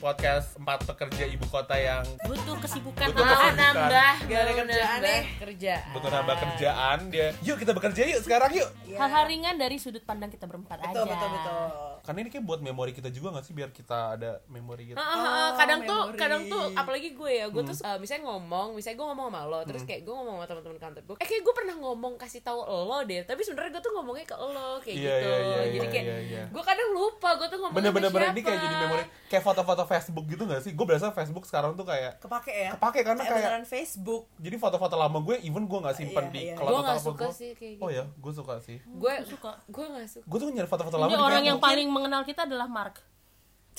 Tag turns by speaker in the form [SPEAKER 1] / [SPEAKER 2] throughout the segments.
[SPEAKER 1] podcast empat pekerja ibu kota yang
[SPEAKER 2] butuh
[SPEAKER 1] Butuh
[SPEAKER 2] kesibukan tambahan.
[SPEAKER 1] kesibukan.
[SPEAKER 3] nambah
[SPEAKER 4] Gak ada kerjaan
[SPEAKER 3] nambah
[SPEAKER 4] nih.
[SPEAKER 3] kerjaan.
[SPEAKER 1] eh. butuh nambah kerjaan dia. Yuk kita bekerja yuk sekarang yuk.
[SPEAKER 2] Hal-hal ringan dari sudut pandang kita berempat
[SPEAKER 4] Betul
[SPEAKER 2] aja.
[SPEAKER 4] betul betul.
[SPEAKER 1] Karena ini kayak buat memori kita juga gak sih biar kita ada memori gitu.
[SPEAKER 3] Ah, ah, ah, kadang tuh
[SPEAKER 4] memori.
[SPEAKER 3] kadang tuh apalagi gue ya gue tuh
[SPEAKER 1] Hmm.
[SPEAKER 3] eh, misalnya ngomong misalnya gue ngomong sama lo terus kayak gue ngomong sama teman-teman kantor gue eh kayak gue pernah ngomong kasih tahu lo deh tapi sebenarnya gue tuh ngomongnya ke lo
[SPEAKER 1] Iya,
[SPEAKER 3] kayak gitu
[SPEAKER 1] iya, iya,
[SPEAKER 3] jadi
[SPEAKER 1] iya,
[SPEAKER 3] kayak
[SPEAKER 1] iya, iya.
[SPEAKER 3] gue kadang lupa gue tuh ngomong
[SPEAKER 1] Bener-bener
[SPEAKER 3] sama
[SPEAKER 1] bener,
[SPEAKER 3] siapa
[SPEAKER 1] ini kayak jadi memori kayak foto-foto Facebook gitu gak sih? Gue berasa Facebook sekarang tuh kayak
[SPEAKER 4] Kepake ya.
[SPEAKER 1] Kepake karena kayak-
[SPEAKER 4] beneran Facebook.
[SPEAKER 1] jadi foto-foto lama gue even gue nggak simpen
[SPEAKER 4] Iya,
[SPEAKER 1] di
[SPEAKER 4] iya.
[SPEAKER 1] kalau
[SPEAKER 3] Gue nggak
[SPEAKER 1] telepon
[SPEAKER 3] suka
[SPEAKER 1] gue.
[SPEAKER 3] sih kayak gitu.
[SPEAKER 1] Oh ya, gue suka sih.
[SPEAKER 3] gue
[SPEAKER 2] suka.
[SPEAKER 3] gue nggak suka
[SPEAKER 1] Gue tuh nyari foto-foto lama
[SPEAKER 2] Ini
[SPEAKER 1] di
[SPEAKER 2] orang yang
[SPEAKER 1] Facebook.
[SPEAKER 2] paling mengenal kita adalah Mark.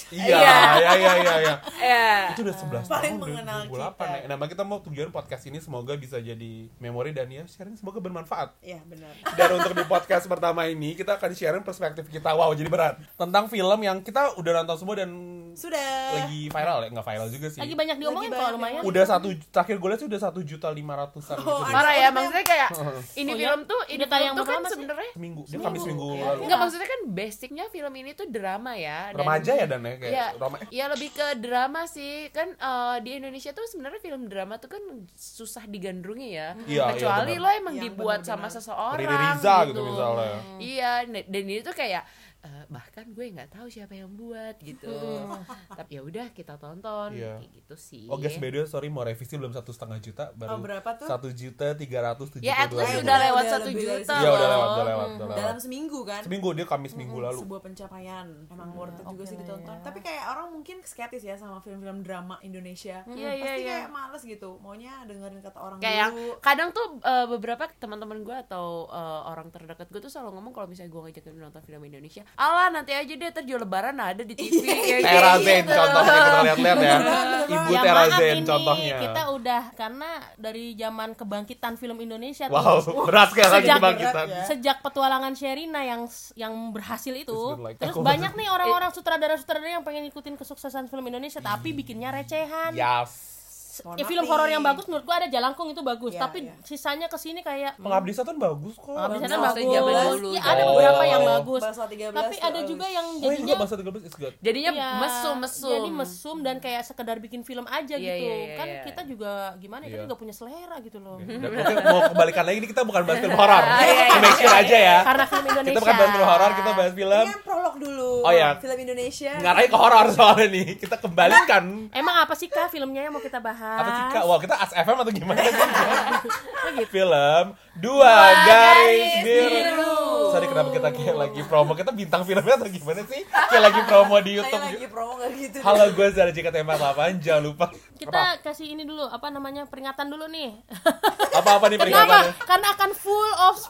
[SPEAKER 1] Iya, iya, iya, iya, iya.
[SPEAKER 3] ya
[SPEAKER 1] Itu udah 11
[SPEAKER 4] Paling
[SPEAKER 1] tahun,
[SPEAKER 4] mengenal
[SPEAKER 1] udah 2008
[SPEAKER 4] kita.
[SPEAKER 1] ya. Nah, makanya kita mau tujuan podcast ini semoga bisa jadi memori dan ya sharing semoga bermanfaat.
[SPEAKER 4] Iya benar.
[SPEAKER 1] Dan untuk di podcast pertama ini kita akan sharing perspektif kita. Wow, jadi berat. Tentang film yang kita udah nonton semua dan
[SPEAKER 4] Sudah.
[SPEAKER 1] lagi viral ya, nggak viral juga sih.
[SPEAKER 2] Lagi banyak diomongin
[SPEAKER 4] Lagi
[SPEAKER 2] kok
[SPEAKER 4] banyak
[SPEAKER 2] lumayan.
[SPEAKER 1] udah satu terakhir gue lihat sih udah satu juta lima ratusan gitu deh.
[SPEAKER 3] parah ya maksudnya kayak
[SPEAKER 1] iya.
[SPEAKER 3] ini
[SPEAKER 2] Oh, ya?
[SPEAKER 3] film tuh ini
[SPEAKER 2] Udah tayang
[SPEAKER 3] film tuh kan
[SPEAKER 2] berapa sih?
[SPEAKER 3] sebenarnya
[SPEAKER 1] seminggu dia kamis minggu lalu
[SPEAKER 3] Enggak maksudnya kan basicnya film ini tuh drama ya. dan-
[SPEAKER 1] remaja ya dan ya kayak
[SPEAKER 3] Iya,
[SPEAKER 1] roma
[SPEAKER 3] ya lebih ke drama sih kan eh, di Indonesia tuh sebenarnya film drama tuh kan susah digandrungi ya
[SPEAKER 1] Iya, iya,
[SPEAKER 3] kecuali
[SPEAKER 1] benar.
[SPEAKER 3] lo emang
[SPEAKER 4] Yang
[SPEAKER 3] dibuat sama
[SPEAKER 4] benar-benar.
[SPEAKER 3] seseorang
[SPEAKER 1] Riri Riza gitu misalnya.
[SPEAKER 3] iya ne- dan ini tuh kayak eh, bahkan gue nggak tahu siapa yang buat gitu tapi ya udah kita tonton
[SPEAKER 1] Iya.
[SPEAKER 3] kayak gitu sih
[SPEAKER 1] Oh guys, by the way, sorry mau revisi belum satu setengah juta, baru
[SPEAKER 4] Oh, berapa tuh?
[SPEAKER 1] satu juta tiga ratus tujuh
[SPEAKER 3] ya at
[SPEAKER 1] puluh dua
[SPEAKER 3] least
[SPEAKER 4] Eh,
[SPEAKER 1] ribu.
[SPEAKER 3] udah
[SPEAKER 4] udah-
[SPEAKER 3] lewat
[SPEAKER 4] udah
[SPEAKER 3] satu
[SPEAKER 4] lebih dari
[SPEAKER 3] juta
[SPEAKER 1] Iya udah lewat,
[SPEAKER 3] loh.
[SPEAKER 1] udah lewat, udah lewat.
[SPEAKER 4] Dalam seminggu kan.
[SPEAKER 1] Seminggu dia Kamis
[SPEAKER 2] Hmm,
[SPEAKER 1] minggu lalu.
[SPEAKER 4] sebuah pencapaian emang worth it juga
[SPEAKER 2] oke
[SPEAKER 4] sih
[SPEAKER 2] lah
[SPEAKER 4] ditonton
[SPEAKER 2] ya.
[SPEAKER 4] tapi kayak orang mungkin skeptis ya sama film-film drama Indonesia
[SPEAKER 2] Iya, iya,
[SPEAKER 4] pasti
[SPEAKER 2] iya.
[SPEAKER 4] kayak males gitu maunya dengerin kata orang
[SPEAKER 3] kayak
[SPEAKER 4] dulu
[SPEAKER 3] kadang tuh eh, beberapa teman-teman gue atau eh, orang terdekat gue tuh selalu ngomong kalau misalnya gue ngajakin nonton film Indonesia ala nanti aja deh terjual lebaran ada di
[SPEAKER 1] Iya,
[SPEAKER 3] TV kayak
[SPEAKER 2] Iya,
[SPEAKER 1] Tera
[SPEAKER 3] gitu.
[SPEAKER 1] Zain contohnya kita lihat-lihat ya. Ibu
[SPEAKER 2] Ya
[SPEAKER 1] Tera
[SPEAKER 2] maaf
[SPEAKER 1] Zain
[SPEAKER 2] ini
[SPEAKER 1] contohnya.
[SPEAKER 2] kita udah karena dari zaman kebangkitan film Indonesia tuh.
[SPEAKER 1] Wow, berat sekali lagi
[SPEAKER 2] Sejak-
[SPEAKER 1] kebangkitan.
[SPEAKER 4] berat ya.
[SPEAKER 2] Sejak petualangan Sherina yang yang berhasil itu,
[SPEAKER 1] It's been like-
[SPEAKER 2] terus
[SPEAKER 1] Aku-
[SPEAKER 2] banyak nih orang-orang sutradara-sutradara yang pengen ngikutin kesuksesan film Indonesia tapi bikinnya recehan.
[SPEAKER 1] Yes.
[SPEAKER 4] Mohon
[SPEAKER 2] Ya,
[SPEAKER 4] maaf
[SPEAKER 2] film
[SPEAKER 4] nih.
[SPEAKER 2] horor yang bagus menurut gua ada Jalangkung itu bagus,
[SPEAKER 4] Iya,
[SPEAKER 2] tapi
[SPEAKER 4] iya.
[SPEAKER 2] sisanya kesini kayak
[SPEAKER 1] Pengabdi Setan bagus kok.
[SPEAKER 2] Pengabdi
[SPEAKER 4] Bagus.
[SPEAKER 2] Setan
[SPEAKER 3] Bahasa Jawa
[SPEAKER 2] bagus.
[SPEAKER 3] dulu.
[SPEAKER 2] Ya, ada
[SPEAKER 1] Oh.
[SPEAKER 2] beberapa yang bagus.
[SPEAKER 4] Bahasa 13
[SPEAKER 2] Tapi ada
[SPEAKER 4] tuh,
[SPEAKER 2] juga
[SPEAKER 4] eh.
[SPEAKER 2] yang
[SPEAKER 1] Oh, ini juga
[SPEAKER 2] jadinya
[SPEAKER 1] bahasa 13 is good.
[SPEAKER 3] jadinya
[SPEAKER 2] Iya,
[SPEAKER 3] mesum mesum
[SPEAKER 2] Jadi mesum dan kayak sekedar bikin film aja
[SPEAKER 3] Iya,
[SPEAKER 2] gitu.
[SPEAKER 3] iya, iya,
[SPEAKER 2] kan
[SPEAKER 3] iya.
[SPEAKER 2] kita juga gimana ya, kita
[SPEAKER 1] Iya.
[SPEAKER 2] juga punya selera gitu loh.
[SPEAKER 1] Dan mungkin mau kebalikan lagi ini kita bukan bahas film horor.
[SPEAKER 2] Iya,
[SPEAKER 1] Make sure aja ya.
[SPEAKER 2] Karena film Indonesia. Iya,
[SPEAKER 1] Kita bukan bahas film horor, kita bahas film
[SPEAKER 4] ini kan prolog dulu
[SPEAKER 1] Oh, iya.
[SPEAKER 4] film Indonesia
[SPEAKER 1] ngarahnya ke horor soalnya nih. Kita kembalikan.
[SPEAKER 2] Emang apa sih Kak filmnya yang mau kita bahas?
[SPEAKER 1] Apa sih kak? Wah kita as FM atau gimana?
[SPEAKER 4] Oh,
[SPEAKER 2] gitu.
[SPEAKER 1] film Dua Garis
[SPEAKER 3] Garis
[SPEAKER 1] Biru. Sorry kenapa kita kayak lagi promo? Kita bintang filmnya atau gimana sih? Kayak lagi promo di
[SPEAKER 4] saya
[SPEAKER 1] YouTube.
[SPEAKER 4] lagi promo gak gitu
[SPEAKER 1] Halo gue Zara Jika Tema 8 Jangan lupa
[SPEAKER 2] Kita kasih ini dulu apa namanya peringatan dulu nih.
[SPEAKER 1] Apa-apa nih
[SPEAKER 2] Kenapa?
[SPEAKER 1] peringatannya
[SPEAKER 2] Karena akan full of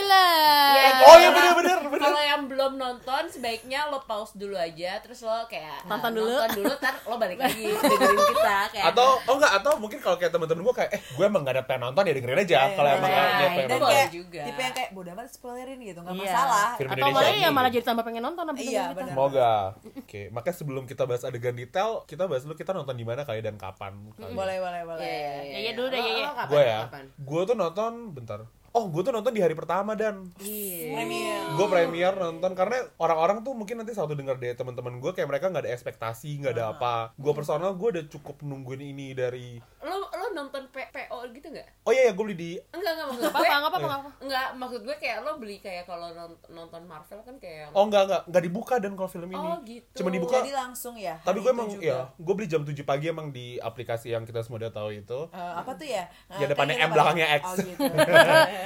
[SPEAKER 3] Iya,
[SPEAKER 2] spoiler.
[SPEAKER 3] iya.
[SPEAKER 1] Oh iya bener-bener bener.
[SPEAKER 3] kalau yang belum nonton sebaiknya lo pause dulu aja terus lo kayak
[SPEAKER 2] Tonton
[SPEAKER 3] eh,
[SPEAKER 2] dulu.
[SPEAKER 3] nonton dulu ntar lo balik lagi dengerin kita kayak
[SPEAKER 1] atau oh enggak atau mungkin kalau kayak temen-temen gue kayak eh gue emang gak ada pengen nonton ya dengerin aja kalau emang
[SPEAKER 4] iya,
[SPEAKER 1] gak ada pengen
[SPEAKER 3] itu
[SPEAKER 4] dan
[SPEAKER 1] nonton
[SPEAKER 3] boleh
[SPEAKER 4] kayak
[SPEAKER 3] juga.
[SPEAKER 4] tipe yang kayak bodoh amat spoilerin gitu nggak
[SPEAKER 2] Iya.
[SPEAKER 4] masalah
[SPEAKER 1] Film
[SPEAKER 2] Atau
[SPEAKER 1] Indonesia
[SPEAKER 2] malah
[SPEAKER 1] ini.
[SPEAKER 2] ya malah jadi tambah pengen nonton abis
[SPEAKER 4] Iya,
[SPEAKER 2] dengerin kita.
[SPEAKER 4] benar.
[SPEAKER 1] semoga oke makanya sebelum kita bahas adegan detail kita bahas dulu kita nonton di mana kali dan kapan kali.
[SPEAKER 4] boleh boleh
[SPEAKER 3] gitu. Iya,
[SPEAKER 4] boleh
[SPEAKER 2] Ya, ya dulu deh, ya,
[SPEAKER 3] Lo-
[SPEAKER 2] ya.
[SPEAKER 3] lo kapan,
[SPEAKER 1] gue
[SPEAKER 3] lo
[SPEAKER 1] ya
[SPEAKER 3] kapan?
[SPEAKER 1] gue tuh nonton bentar oh gue tuh nonton di hari pertama dan
[SPEAKER 3] Iya.
[SPEAKER 4] premier
[SPEAKER 1] gue premier nonton karena orang-orang tuh mungkin nanti satu dengar deh teman-teman gue kayak mereka nggak ada ekspektasi nggak ada apa gue personal gue udah cukup nungguin ini dari
[SPEAKER 3] lo lo nonton P- PO gitu nggak
[SPEAKER 1] oh iya ya gue beli di
[SPEAKER 3] enggak enggak maksud
[SPEAKER 2] Nggak
[SPEAKER 3] gue
[SPEAKER 2] apa-apa, nggak apa-apa, nggak apa-apa.
[SPEAKER 3] Enggak, maksud gue kayak lo beli kayak kalau non- nonton Marvel kan kayak
[SPEAKER 1] oh enggak enggak nggak dibuka dan kalau film ini
[SPEAKER 3] Oh, gitu.
[SPEAKER 1] cuma dibuka
[SPEAKER 4] jadi langsung ya
[SPEAKER 1] tapi gue
[SPEAKER 4] hari itu
[SPEAKER 1] emang
[SPEAKER 4] juga.
[SPEAKER 1] ya gue beli jam 7 pagi emang di aplikasi yang kita semua udah tahu itu
[SPEAKER 4] Eh, apa tuh ya?
[SPEAKER 1] Ya,
[SPEAKER 4] Eh,
[SPEAKER 1] depannya M,
[SPEAKER 4] kayaknya
[SPEAKER 1] belakangnya X.
[SPEAKER 4] Oh, gitu.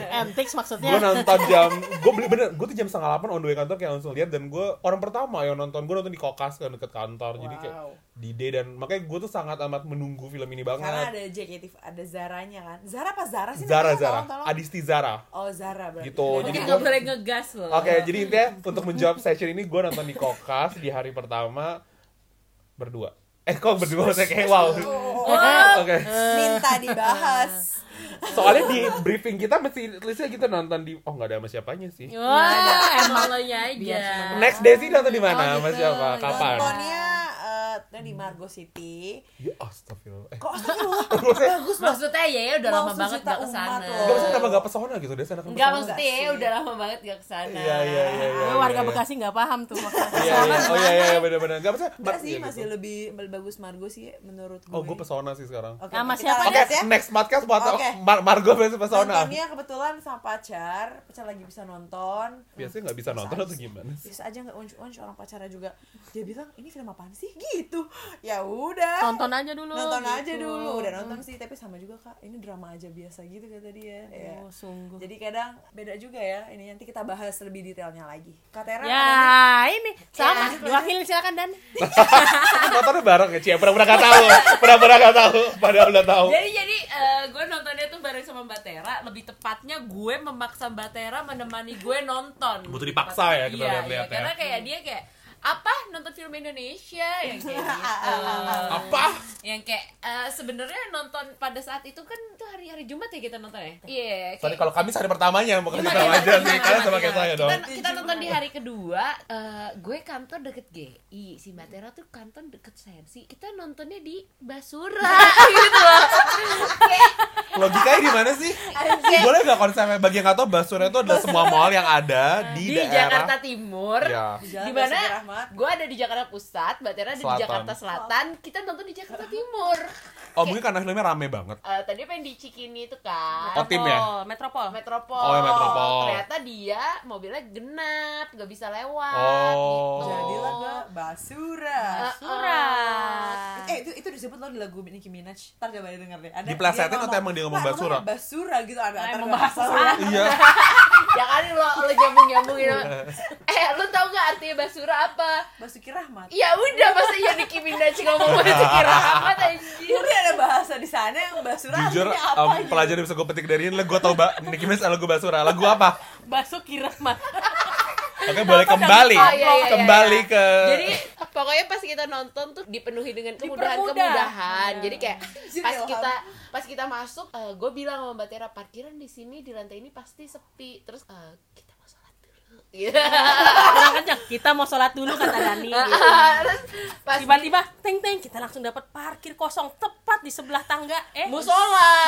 [SPEAKER 2] Antics Eh, maksudnya.
[SPEAKER 1] gue nonton jam gue beli bener gue tuh jam setengah delapan on the way kantor kayak langsung lihat dan gue orang pertama yang nonton gue nonton di kokas kan deket kantor jadi kayak
[SPEAKER 4] Wow.
[SPEAKER 1] di day dan makanya gue tuh sangat amat menunggu film ini banget
[SPEAKER 4] Karena ada JKT, ada Zaranya kan. Zara apa Zara sih?
[SPEAKER 1] Zara
[SPEAKER 4] namanya?
[SPEAKER 1] Zara
[SPEAKER 4] Tolong, tolong.
[SPEAKER 1] Adisti Zara
[SPEAKER 4] Oh Zara berarti.
[SPEAKER 1] Gitu,
[SPEAKER 3] Jadi
[SPEAKER 1] Jadi
[SPEAKER 3] nggak
[SPEAKER 1] gua-
[SPEAKER 3] boleh ngegas loh.
[SPEAKER 1] oke jadi intinya untuk menjawab session ini gue nonton di kokas di hari pertama berdua eh kok berdua saya kayak wow
[SPEAKER 4] Oh, oh,
[SPEAKER 1] oke
[SPEAKER 4] minta dibahas.
[SPEAKER 1] soalnya di briefing kita mesti listnya kita nonton di oh nggak ada sama siapanya sih
[SPEAKER 2] Iya. Wah, emang lo ya aja.
[SPEAKER 1] next day sih nonton di mana
[SPEAKER 2] Oh,
[SPEAKER 1] sama
[SPEAKER 2] gitu.
[SPEAKER 1] siapa kapan
[SPEAKER 4] Nontonnya eh, tepatnya di Margo City.
[SPEAKER 1] Ya astagfirullah. Eh,
[SPEAKER 4] Kok astagfirullah?
[SPEAKER 1] maksudnya
[SPEAKER 4] bagus loh.
[SPEAKER 5] Maksudnya ya ya udah
[SPEAKER 4] Mau
[SPEAKER 5] lama banget
[SPEAKER 4] sejuta
[SPEAKER 5] gak
[SPEAKER 4] umat
[SPEAKER 5] kesana.
[SPEAKER 4] loh.
[SPEAKER 1] Gak maksudnya kenapa gak pesona gitu deh, anak
[SPEAKER 5] Enggak
[SPEAKER 1] pesona.
[SPEAKER 5] maksudnya ya udah lama banget gak kesana.
[SPEAKER 1] Iya, iya, iya, iya.
[SPEAKER 2] Gue
[SPEAKER 1] iya,
[SPEAKER 2] eh, warga
[SPEAKER 1] iya.
[SPEAKER 2] Bekasi nggak paham tuh maksudnya.
[SPEAKER 1] Iya, iya. Oh iya, iya, iya, benar-benar. Enggak maksudnya.
[SPEAKER 4] Enggak
[SPEAKER 1] bar-
[SPEAKER 4] sih,
[SPEAKER 1] iya,
[SPEAKER 4] masih
[SPEAKER 1] gitu.
[SPEAKER 4] lebih bagus Margo sih menurut gue.
[SPEAKER 1] Oh, gue pesona sih sekarang.
[SPEAKER 4] Oke,
[SPEAKER 2] Sama
[SPEAKER 4] kita
[SPEAKER 2] siapa?
[SPEAKER 1] Oke,
[SPEAKER 4] lanjut ya.
[SPEAKER 1] next podcast buat
[SPEAKER 4] Oke.
[SPEAKER 1] Mar Margo versus pesona.
[SPEAKER 4] Nontonnya kebetulan sama pacar, pacar lagi bisa nonton.
[SPEAKER 1] Biasanya nggak bisa nonton atau gimana sih?
[SPEAKER 4] Bisa aja nggak unjuk-unjuk orang pacarnya juga. Dia bilang ini film apaan sih? Gitu. Ya udah.
[SPEAKER 2] Tonton aja dulu.
[SPEAKER 4] Nonton aja
[SPEAKER 2] gitu.
[SPEAKER 4] dulu. Udah nonton sih, tapi sama juga kak. Ini drama aja biasa gitu kata dia. Ya.
[SPEAKER 2] Oh, sungguh.
[SPEAKER 4] Jadi kadang beda juga ya. Ini nanti kita bahas lebih detailnya lagi. Kak Tera, ada nih?
[SPEAKER 2] Ya, ini sama. Diwakilin silakan Dan.
[SPEAKER 1] Nontonnya bareng ya, Cia. Pura-pura gak tahu. Pura-pura gak tahu. Padahal udah tahu.
[SPEAKER 5] Jadi jadi eh, gue nontonnya tuh bareng sama Mbak Tera, lebih tepatnya gue memaksa Mbak Tera menemani gue nonton.
[SPEAKER 1] Butuh dipaksa ya, kita
[SPEAKER 5] Iya,
[SPEAKER 1] lihat-lihat
[SPEAKER 5] iya, Karena
[SPEAKER 1] ya.
[SPEAKER 5] kayak dia kayak apa nonton film Indonesia yang kayak gitu.
[SPEAKER 1] Apa?
[SPEAKER 5] yang kayak eh, sebenarnya nonton pada saat itu kan tuh hari-hari Jumat ya kita nonton ya. Iya. kayak-
[SPEAKER 1] Soalnya kalau kami hari pertamanya bukan
[SPEAKER 5] Jumat
[SPEAKER 1] kita
[SPEAKER 5] ya,
[SPEAKER 1] aja
[SPEAKER 5] Jumat,
[SPEAKER 1] sih. Kalian
[SPEAKER 5] Jumat,
[SPEAKER 1] sama
[SPEAKER 5] Jumat,
[SPEAKER 1] kayak saya
[SPEAKER 5] Jumat.
[SPEAKER 1] dong.
[SPEAKER 5] Kita, kita nonton di hari kedua, eh, gue kantor deket GI, si Mbak Tera tuh kantor deket Sensi. Kita nontonnya di Basura gitu loh. Kayak
[SPEAKER 1] Logikanya di mana sih? Boleh gak konsepnya bagi yang gak tau Basura itu adalah semua mall yang ada di,
[SPEAKER 5] di
[SPEAKER 1] daerah
[SPEAKER 5] Jakarta Timur.
[SPEAKER 1] Ya.
[SPEAKER 4] Jalan
[SPEAKER 5] Di mana
[SPEAKER 4] Basuki Rahmat.
[SPEAKER 5] gue ada di Jakarta Pusat, Mbak Tera ada
[SPEAKER 1] Selatan.
[SPEAKER 5] di Jakarta Selatan, kita nonton di Jakarta Timur.
[SPEAKER 1] Oh mungkin karena filmnya rame banget.
[SPEAKER 5] Eh, tadi pengen di Cikini itu kan.
[SPEAKER 1] Oh, tim ya?
[SPEAKER 2] Metropol, Metropol.
[SPEAKER 5] Metropol.
[SPEAKER 1] Oh, ya, Metropol.
[SPEAKER 5] Ternyata dia mobilnya genap, gak bisa lewat.
[SPEAKER 1] Oh.
[SPEAKER 5] gitu. Eh,
[SPEAKER 4] Jadilah gak basura.
[SPEAKER 2] Surat.
[SPEAKER 4] Eh itu itu disebut loh di lagu Nicki Minaj. Ntar coba denger deh. Ada
[SPEAKER 1] Diplesetin
[SPEAKER 4] dia
[SPEAKER 1] atau
[SPEAKER 4] ngomong,
[SPEAKER 1] emang dia ngomong
[SPEAKER 4] "Pak,
[SPEAKER 1] basura?"
[SPEAKER 4] namanya basura gitu ada.
[SPEAKER 2] Emang
[SPEAKER 4] ntar gak
[SPEAKER 2] basura.
[SPEAKER 4] masalah.
[SPEAKER 1] Iya.
[SPEAKER 5] ya kali lo lo nyambung nyambungin eh lo tau gak artinya basura apa
[SPEAKER 4] Basuki Rahmat.
[SPEAKER 5] ya udah masa ya Nicki Minaj ngomong Basuki Rahmat anjir
[SPEAKER 4] Tapi ada bahasa di sana yang basura
[SPEAKER 1] Jujur,
[SPEAKER 4] artinya apa
[SPEAKER 1] um,
[SPEAKER 4] gitu.
[SPEAKER 1] pelajaran yang bisa gue petik dari ini, gue tau ba- Nicki Minaj lagu Basura, lagu apa?
[SPEAKER 2] Basuki Rahmat.
[SPEAKER 1] Oke, boleh kembali,
[SPEAKER 5] Oh, iya, iya, iya,
[SPEAKER 1] kembali
[SPEAKER 5] iya.
[SPEAKER 1] ke
[SPEAKER 5] jadi pokoknya pas kita nonton tuh dipenuhi dengan kemudahan
[SPEAKER 4] Dipermudah.
[SPEAKER 5] kemudahan jadi kayak
[SPEAKER 4] Jadi
[SPEAKER 5] pas
[SPEAKER 4] ilham.
[SPEAKER 5] kita pas kita masuk gue bilang sama mbak Tera parkiran di sini di lantai ini pasti sepi terus eh, kita mau sholat dulu Iya.
[SPEAKER 2] Kurang kencang. Kita mau sholat dulu kata Dani. gitu.
[SPEAKER 5] terus pas di-
[SPEAKER 2] Tiba-tiba teng teng kita langsung dapat parkir kosong tepat di sebelah tangga. Eh,
[SPEAKER 5] Musola.